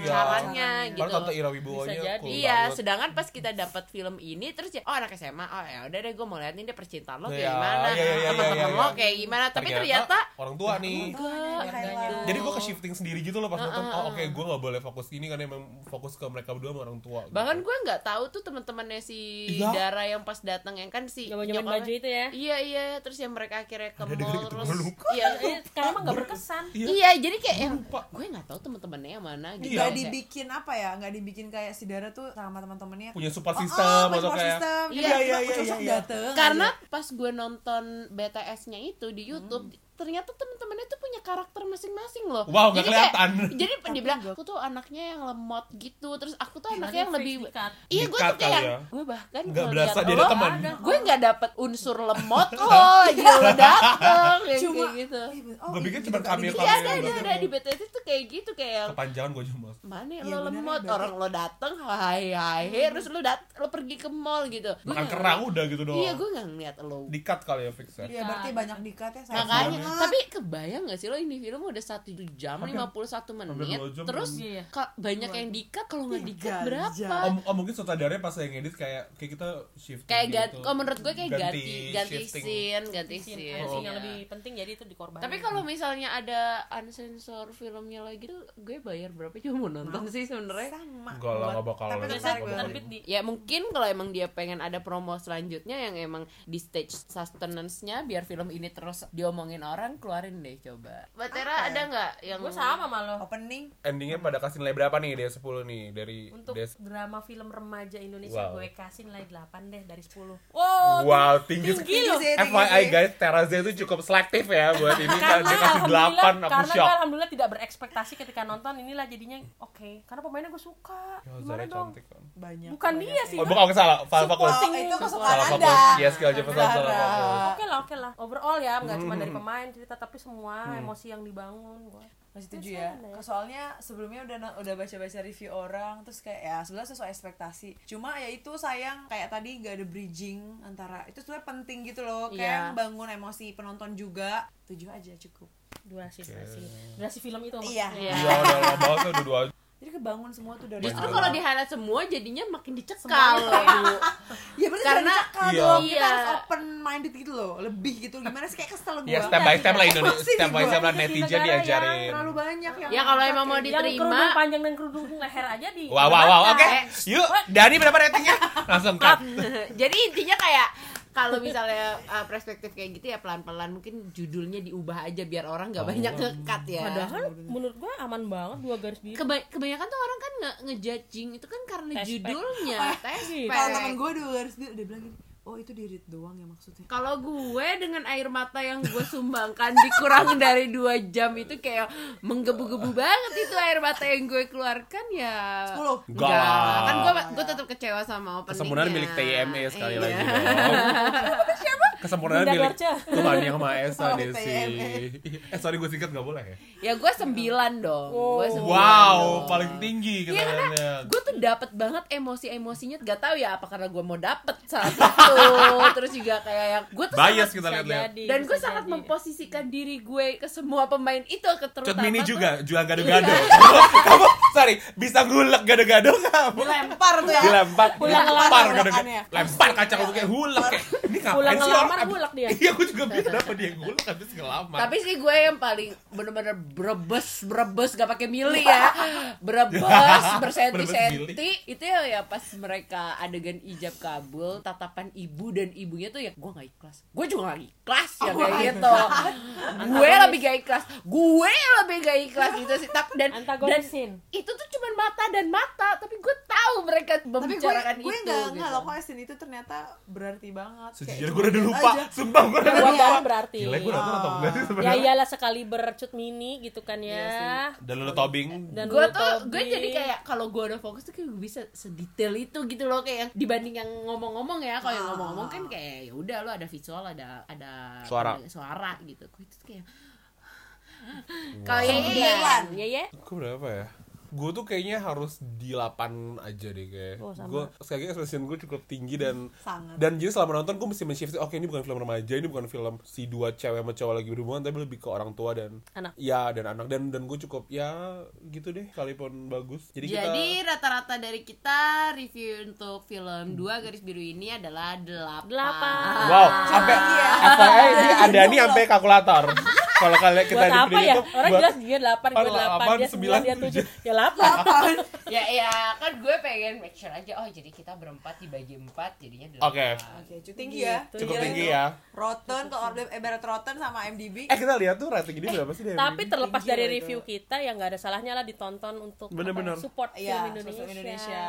[SPEAKER 4] Iya.
[SPEAKER 5] pacarannya
[SPEAKER 1] Karena
[SPEAKER 5] gitu.
[SPEAKER 1] tante Ira Wibowonya
[SPEAKER 2] Bisa jadi.
[SPEAKER 1] cool
[SPEAKER 5] Iya,
[SPEAKER 1] banget.
[SPEAKER 5] sedangkan pas kita dapat film ini terus ya, oh anak SMA, oh ya udah deh gue mau liatin dia percintaan lo kayak
[SPEAKER 1] Iya,
[SPEAKER 5] gimana,
[SPEAKER 1] iya, iya, iya,
[SPEAKER 5] teman-teman
[SPEAKER 1] iya,
[SPEAKER 5] lo
[SPEAKER 1] iya.
[SPEAKER 5] kayak gimana, tapi ternyata
[SPEAKER 1] orang tua nih.
[SPEAKER 4] Enggak, highlight.
[SPEAKER 1] Jadi gue ke shifting sendiri gitu loh pas nonton. Oh oke, gue gak boleh fokus ini karena emang fokus ke mereka berdua sama orang tua. gitu.
[SPEAKER 5] bahkan gue nggak tahu tuh teman-temannya si
[SPEAKER 1] Iya.
[SPEAKER 5] Dara yang pas datang yang kan si
[SPEAKER 2] Nyoba-nyobain
[SPEAKER 5] nyokapnya-
[SPEAKER 2] baju itu ya?
[SPEAKER 5] iya iya terus yang mereka akhirnya ke
[SPEAKER 1] Ada adegan
[SPEAKER 5] mall
[SPEAKER 1] itu,
[SPEAKER 5] terus
[SPEAKER 1] gitu, gua lupa.
[SPEAKER 5] iya
[SPEAKER 2] Eh, karena emang nggak berkesan
[SPEAKER 1] Iya.
[SPEAKER 5] iya jadi kayak yang
[SPEAKER 1] lupa.
[SPEAKER 5] gue nggak tahu teman-temannya yang mana
[SPEAKER 4] Gak
[SPEAKER 5] gitu
[SPEAKER 1] Iya.
[SPEAKER 5] Kayak-
[SPEAKER 4] dibikin apa ya? Gak dibikin kayak si Dara tuh sama teman-temannya.
[SPEAKER 1] punya support
[SPEAKER 4] Oh, oh,
[SPEAKER 1] system
[SPEAKER 4] punya
[SPEAKER 1] atau
[SPEAKER 4] support
[SPEAKER 1] kayak
[SPEAKER 4] system.
[SPEAKER 5] Iya,
[SPEAKER 4] Tiba-tiba
[SPEAKER 1] iya, iya,
[SPEAKER 4] Ucok sok
[SPEAKER 1] iya.
[SPEAKER 4] dateng
[SPEAKER 5] karena pas gue nonton BTS-nya itu di YouTube ternyata teman-temannya tuh punya karakter masing-masing loh
[SPEAKER 1] Hmm. Wow, nggak
[SPEAKER 5] Jadi kayak-
[SPEAKER 1] kelihatan.
[SPEAKER 5] jadi dibilang aku tuh anaknya yang lemot gitu terus aku tuh anaknya yang lebih
[SPEAKER 2] dikat.
[SPEAKER 5] iya gue
[SPEAKER 1] Dikat
[SPEAKER 5] tuh kayak
[SPEAKER 1] kali ya.
[SPEAKER 5] gue bahkan
[SPEAKER 1] Nggak
[SPEAKER 5] ngeliat
[SPEAKER 1] berasa dia
[SPEAKER 5] lo,
[SPEAKER 1] ada teman.
[SPEAKER 5] gue nggak dapet unsur lemot lo gitu lo dateng yang
[SPEAKER 4] cuma
[SPEAKER 5] kayak gitu
[SPEAKER 4] oh,
[SPEAKER 1] Gue
[SPEAKER 4] iya,
[SPEAKER 1] pikir
[SPEAKER 4] gitu,
[SPEAKER 1] cuma
[SPEAKER 4] Kak,
[SPEAKER 1] cameo-
[SPEAKER 4] dibikin.
[SPEAKER 5] iya
[SPEAKER 1] yang
[SPEAKER 5] ada ada
[SPEAKER 1] dateng.
[SPEAKER 5] ada di BTS itu kayak gitu kayak
[SPEAKER 1] gitu. kepanjangan gue cuma.
[SPEAKER 5] mana ya,
[SPEAKER 4] Iya,
[SPEAKER 5] lo
[SPEAKER 4] beneran
[SPEAKER 5] lemot
[SPEAKER 4] berarti. Hmm.
[SPEAKER 5] orang lo dateng hai hai hai, terus lo dat lo pergi ke mall gitu Gue
[SPEAKER 1] Makan
[SPEAKER 5] nggak-
[SPEAKER 1] kerang udah gitu doang.
[SPEAKER 5] iya gue nggak ngeliat lo
[SPEAKER 1] Dikat kali ya fix ya.
[SPEAKER 4] Iya berarti banyak dikat ya sayang
[SPEAKER 5] makanya
[SPEAKER 4] banget.
[SPEAKER 5] tapi kebayang gak sih lo ini film udah satu jam lima puluh satu menit
[SPEAKER 1] dua jam.
[SPEAKER 5] terus
[SPEAKER 2] Iya.
[SPEAKER 5] ka- banyak yang dikat kalau
[SPEAKER 4] Iya,
[SPEAKER 5] nggak
[SPEAKER 1] Iya.
[SPEAKER 5] dikat
[SPEAKER 4] Tiga
[SPEAKER 5] berapa
[SPEAKER 4] jam.
[SPEAKER 1] Om, om Oh, mungkin sutradaranya pas yang edit kayak kayak kita shift
[SPEAKER 5] kayak ganti oh menurut gue kayak ganti ganti,
[SPEAKER 1] shifting.
[SPEAKER 5] scene ganti
[SPEAKER 2] Scene-
[SPEAKER 5] scene
[SPEAKER 2] scene yang
[SPEAKER 5] ya.
[SPEAKER 2] lebih penting jadi itu dikorbanin
[SPEAKER 5] tapi kalau misalnya ada unsensor filmnya lagi tuh gue bayar berapa cuma mau nonton sih sebenarnya
[SPEAKER 4] sama.
[SPEAKER 1] Enggak lah,
[SPEAKER 4] buat-
[SPEAKER 1] nggak bakal.
[SPEAKER 4] Tapi
[SPEAKER 1] Nggak
[SPEAKER 4] tertarik
[SPEAKER 1] bakal.
[SPEAKER 4] banget.
[SPEAKER 2] terbit di
[SPEAKER 5] ya mungkin kalau emang dia pengen ada promo selanjutnya yang emang di stage sustenance-nya biar film ini terus diomongin
[SPEAKER 3] orang keluarin deh coba.
[SPEAKER 5] Mbak Tera ada nggak yang
[SPEAKER 2] gue sama malu
[SPEAKER 4] opening
[SPEAKER 1] Endingnya pada kasih nilai berapa nih dia 10 nih dari
[SPEAKER 2] untuk
[SPEAKER 1] Des-
[SPEAKER 2] drama film remaja Indonesia
[SPEAKER 1] Wow.
[SPEAKER 2] gue kasih nilai 8 deh dari 10 wow
[SPEAKER 1] Wow, tinggi,
[SPEAKER 2] tinggi
[SPEAKER 4] loh.
[SPEAKER 1] FYI guys, Terazia itu cukup selektif ya buat ini kan dia kasih 8 aku
[SPEAKER 2] karena
[SPEAKER 1] shock.
[SPEAKER 2] gue alhamdulillah tidak berekspektasi ketika nonton inilah jadinya oke karena pemainnya gue suka
[SPEAKER 1] Ya,
[SPEAKER 2] gimana
[SPEAKER 1] Zara
[SPEAKER 2] dong
[SPEAKER 1] cantik kan.
[SPEAKER 4] banyak
[SPEAKER 2] bukan
[SPEAKER 4] banyak.
[SPEAKER 2] dia sih
[SPEAKER 1] Oh, bukan aku salah, Val
[SPEAKER 2] Support.
[SPEAKER 1] Fakus.
[SPEAKER 4] Oh, itu kesukaan
[SPEAKER 1] Salah
[SPEAKER 4] anda
[SPEAKER 1] fokus. Iya, skill aja salah salah
[SPEAKER 4] Zara.
[SPEAKER 1] fokus.
[SPEAKER 2] oke lah oke lah overall ya nggak cuma
[SPEAKER 1] Hmm.
[SPEAKER 2] dari pemain cerita tapi semua emosi yang dibangun gue
[SPEAKER 4] masih setuju ya Ke- soalnya sebelumnya udah na- udah baca baca review orang terus kayak ya sebenarnya sesuai ekspektasi cuma ya itu sayang kayak tadi nggak ada bridging antara itu sebenarnya penting gitu loh
[SPEAKER 3] Iya.
[SPEAKER 4] kayak bangun emosi penonton juga tujuh aja cukup
[SPEAKER 2] durasi durasi durasi film itu
[SPEAKER 4] Iya.
[SPEAKER 2] maksudnya.
[SPEAKER 5] Iya.
[SPEAKER 1] Iya, udah lama banget tuh dua-dua.
[SPEAKER 4] jadi kebangun semua tuh dari
[SPEAKER 5] Justru
[SPEAKER 1] Iya.
[SPEAKER 5] kalau di highlight semua jadinya makin dicekal loh Ibu.
[SPEAKER 4] ya berarti
[SPEAKER 5] Karena-
[SPEAKER 4] karena dicakal
[SPEAKER 1] Iya.
[SPEAKER 4] dong kita
[SPEAKER 5] Iya.
[SPEAKER 4] harus open minded gitu loh lebih gitu gimana sih kayak kesel gue
[SPEAKER 1] Ya, step by step lah Indonesia, step by step lah
[SPEAKER 4] Ini di
[SPEAKER 1] netizen
[SPEAKER 4] negara yang
[SPEAKER 1] diajarin.
[SPEAKER 4] terlalu banyak yang
[SPEAKER 5] Ya, kalau emang mau
[SPEAKER 4] kayak
[SPEAKER 5] di-
[SPEAKER 2] yang
[SPEAKER 5] Diterima.
[SPEAKER 2] kerudung panjang dan kerudung leher aja di
[SPEAKER 1] Wow, wow, wow, oke.
[SPEAKER 5] Eh.
[SPEAKER 1] Yuk, Dani berapa ratingnya? Langsung cut.
[SPEAKER 5] Jadi intinya kayak kalau misalnya uh, perspektif kayak gitu ya pelan-pelan mungkin judulnya diubah aja biar orang nggak banyak ngekat ya.
[SPEAKER 2] padahal menurut gue aman banget dua garis biru
[SPEAKER 5] Keba- kebanyakan tuh orang kan nge ngejudging itu kan karena
[SPEAKER 2] Tespek.
[SPEAKER 5] judulnya.
[SPEAKER 2] Gitu.
[SPEAKER 4] gitu.
[SPEAKER 5] Tespek.
[SPEAKER 4] kalau temen gue dulu harus dia udah bilang gini oh itu dirit doang ya maksudnya
[SPEAKER 5] Kalau gue dengan air mata yang gue sumbangkan dikurangin dari dua jam itu kayak menggebu-gebu banget itu air mata yang gue keluarkan ya.
[SPEAKER 4] Sepuluh.
[SPEAKER 5] Enggak.
[SPEAKER 1] Enggak.
[SPEAKER 5] Kan gue gue tetap kecewa sama openingnya.
[SPEAKER 1] Kesempurnaan Ah. milik TIME E sekali
[SPEAKER 5] Iya.
[SPEAKER 1] lagi dong. Kesempurnaan
[SPEAKER 2] Bunda
[SPEAKER 1] milik
[SPEAKER 2] Dorce.
[SPEAKER 1] Tuhan yang Maha Esa
[SPEAKER 4] Oh,
[SPEAKER 1] Desi.
[SPEAKER 4] TIME.
[SPEAKER 1] Eh sorry gue singkat gak boleh ya.
[SPEAKER 5] Ya gue sembilan dong. Gue sembilan
[SPEAKER 1] Wow,
[SPEAKER 5] dong.
[SPEAKER 1] paling tinggi
[SPEAKER 5] Iya karena
[SPEAKER 1] kesannya.
[SPEAKER 5] gue tuh dapet banget emosi-emosinya Gak tahu ya apa karena gue mau dapet saat itu Terus juga kayak yang Gue tuh
[SPEAKER 1] Bias gitu.
[SPEAKER 5] sangat-
[SPEAKER 1] kita lihat-lihat.
[SPEAKER 5] Dan gue sangat memposisikan diri gue ke semua pemain itu Terutama
[SPEAKER 1] Cut mini
[SPEAKER 5] tuh-
[SPEAKER 1] juga, jual gado-gado. kamu, sorry, bisa ngulek gado-gado kamu.
[SPEAKER 4] dilempar tuh ya
[SPEAKER 1] Dilempar,
[SPEAKER 4] Pulang
[SPEAKER 1] dilempar
[SPEAKER 4] ngelamar
[SPEAKER 1] gado-gado.
[SPEAKER 4] golekannya.
[SPEAKER 1] Lempar kacang lu kayak hulek kayak. Ini
[SPEAKER 2] Pulang
[SPEAKER 1] ngapain sih
[SPEAKER 2] ngelamar,
[SPEAKER 1] orang? Abis-
[SPEAKER 2] hulek dia.
[SPEAKER 1] Iya, gue juga bingung kenapa dia ngulek habis ngelamar.
[SPEAKER 5] Tapi sih gue yang paling bener-bener berebes, berebes gak pakai mili ya. Berebes,
[SPEAKER 1] Berebes
[SPEAKER 5] bersenti-senti. Itu ya, ya pas mereka adegan ijab kabul, tatapan ibu dan ibunya tuh ya gue gak ikhlas. Gue juga gak ikhlas ya
[SPEAKER 4] Oh
[SPEAKER 5] kayak gitu. gue lebih gak ikhlas. Gue lebih gak ikhlas gitu sih. Tapi dan dan
[SPEAKER 2] antagonis scene
[SPEAKER 5] itu tuh cuman mata dan mata, tapi gue tahu mereka
[SPEAKER 4] tapi gue
[SPEAKER 5] membicarakan
[SPEAKER 4] gue
[SPEAKER 5] itu.
[SPEAKER 4] nggak
[SPEAKER 5] gitu.
[SPEAKER 4] nggak loh kok scene itu ternyata berarti banget
[SPEAKER 1] Sejujurnya gue udah lupa, sumpah gue udah
[SPEAKER 2] buat
[SPEAKER 1] lupa.
[SPEAKER 2] orang berarti
[SPEAKER 1] Gila, gue nonton atau enggak sih
[SPEAKER 2] ya
[SPEAKER 1] sebenarnya?
[SPEAKER 2] iyalah sekali bercut mini gitu kan ya
[SPEAKER 1] Dan lu tobing,
[SPEAKER 2] dan
[SPEAKER 5] gue
[SPEAKER 2] lu
[SPEAKER 5] tuh gue
[SPEAKER 2] Tobi.
[SPEAKER 5] jadi kayak kalau gue udah fokus tuh kayak gue bisa sedetail itu gitu loh kayak yang- dibanding yang ngomong-ngomong ya kalau yang ngomong-ngomong kan kayak ya udah lo ada visual ada ada
[SPEAKER 1] Suara.
[SPEAKER 5] ada suara gitu gue itu tuh kayak kayak
[SPEAKER 4] Sembilan.
[SPEAKER 2] Iya,
[SPEAKER 5] ya ya
[SPEAKER 1] Gue berapa ya? Gue tuh kayaknya harus di 8 aja deh kayak.
[SPEAKER 2] Oh, sama.
[SPEAKER 1] gue sekali lagi expression gue cukup tinggi dan
[SPEAKER 4] Sangat.
[SPEAKER 1] dan jadi selama nonton gue mesti men-shift oke ini bukan film remaja, ini bukan film si dua cewek sama cowok lagi berhubungan tapi lebih ke orang tua dan
[SPEAKER 2] Anak.
[SPEAKER 1] Ya, dan anak dan dan gue cukup ya gitu deh kalipun bagus. Jadi, kita
[SPEAKER 5] jadi rata-rata dari kita review untuk film dua garis biru ini adalah delapan,
[SPEAKER 2] Delapan.
[SPEAKER 1] Wow, sampai
[SPEAKER 2] Iya.
[SPEAKER 1] FYI ini ada nih sampai kalkulator. Kalau kalian kita
[SPEAKER 2] buat apa ya
[SPEAKER 1] itu
[SPEAKER 2] orang
[SPEAKER 1] buat-
[SPEAKER 2] jelas dia 8 gue
[SPEAKER 1] Orang
[SPEAKER 2] 8 dia 9 dia
[SPEAKER 1] 9,
[SPEAKER 2] 7 ya 8
[SPEAKER 5] ya ya kan gue pengen make sure aja oh jadi kita berempat dibagi empat jadinya delapan Oh,
[SPEAKER 1] Oke,
[SPEAKER 4] oke cukup tinggi ya
[SPEAKER 1] cukup
[SPEAKER 4] Gila
[SPEAKER 1] tinggi
[SPEAKER 4] itu.
[SPEAKER 1] ya.
[SPEAKER 4] Rotten kalau update eh Barrett Rotten sama MDB
[SPEAKER 1] Eh kita lihat tuh rating ini berapa sih dari
[SPEAKER 2] tapi terlepas
[SPEAKER 4] Tinggi
[SPEAKER 2] dari
[SPEAKER 4] loh itu.
[SPEAKER 2] review kita ya nggak ada salahnya lah ditonton untuk apa ya,
[SPEAKER 1] Bener-bener.
[SPEAKER 2] support
[SPEAKER 4] Iya,
[SPEAKER 2] film Indonesia,
[SPEAKER 4] sosial Indonesia.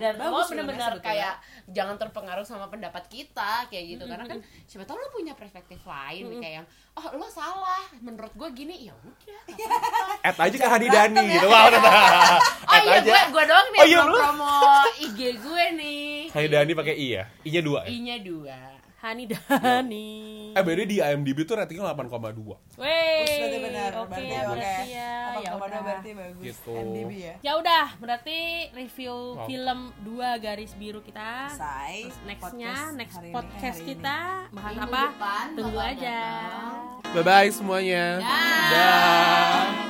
[SPEAKER 5] dan
[SPEAKER 4] Bagus
[SPEAKER 5] lo bener-bener
[SPEAKER 4] filmnya
[SPEAKER 5] kayak jangan terpengaruh sama pendapat kita kayak gitu karena kan siapa tau lo punya perspektif lain kayak yang oh lo salah menurut gue gini ya udah nggak apa-apa."
[SPEAKER 1] Add aja ke Hadi Dani gitu. Wah, udah.
[SPEAKER 5] ya. oh
[SPEAKER 1] Add
[SPEAKER 5] iya
[SPEAKER 1] aja.
[SPEAKER 5] gue gue doang nih
[SPEAKER 1] Oh,
[SPEAKER 5] yang
[SPEAKER 1] iya,
[SPEAKER 5] mau
[SPEAKER 1] lo.
[SPEAKER 5] promo IG gue nih
[SPEAKER 1] Hani Dani pakai I ya? I-nya 2
[SPEAKER 5] I
[SPEAKER 1] ya?
[SPEAKER 5] nya dua
[SPEAKER 2] Hani
[SPEAKER 4] Iya.
[SPEAKER 2] Dani
[SPEAKER 1] Eh, beda di IMDb tuh ratingnya 8,2
[SPEAKER 2] Wey,
[SPEAKER 4] berarti benar
[SPEAKER 2] oke
[SPEAKER 4] berarti oke
[SPEAKER 2] berarti ya
[SPEAKER 4] apa
[SPEAKER 2] ya
[SPEAKER 4] kabar
[SPEAKER 2] udah.
[SPEAKER 4] berarti bagus
[SPEAKER 1] Gitu.
[SPEAKER 4] MDB ya
[SPEAKER 2] Ya udah, berarti review
[SPEAKER 1] Wow.
[SPEAKER 2] film dua garis biru kita.
[SPEAKER 4] Sai
[SPEAKER 2] Nextnya, next
[SPEAKER 4] hari ini, Eh,
[SPEAKER 2] podcast
[SPEAKER 4] hari ini.
[SPEAKER 2] kita bahas
[SPEAKER 5] Minggu
[SPEAKER 2] apa?
[SPEAKER 5] depan
[SPEAKER 2] Tunggu
[SPEAKER 5] bakal
[SPEAKER 2] aja.
[SPEAKER 5] datang.
[SPEAKER 1] Bye-bye semuanya Dah.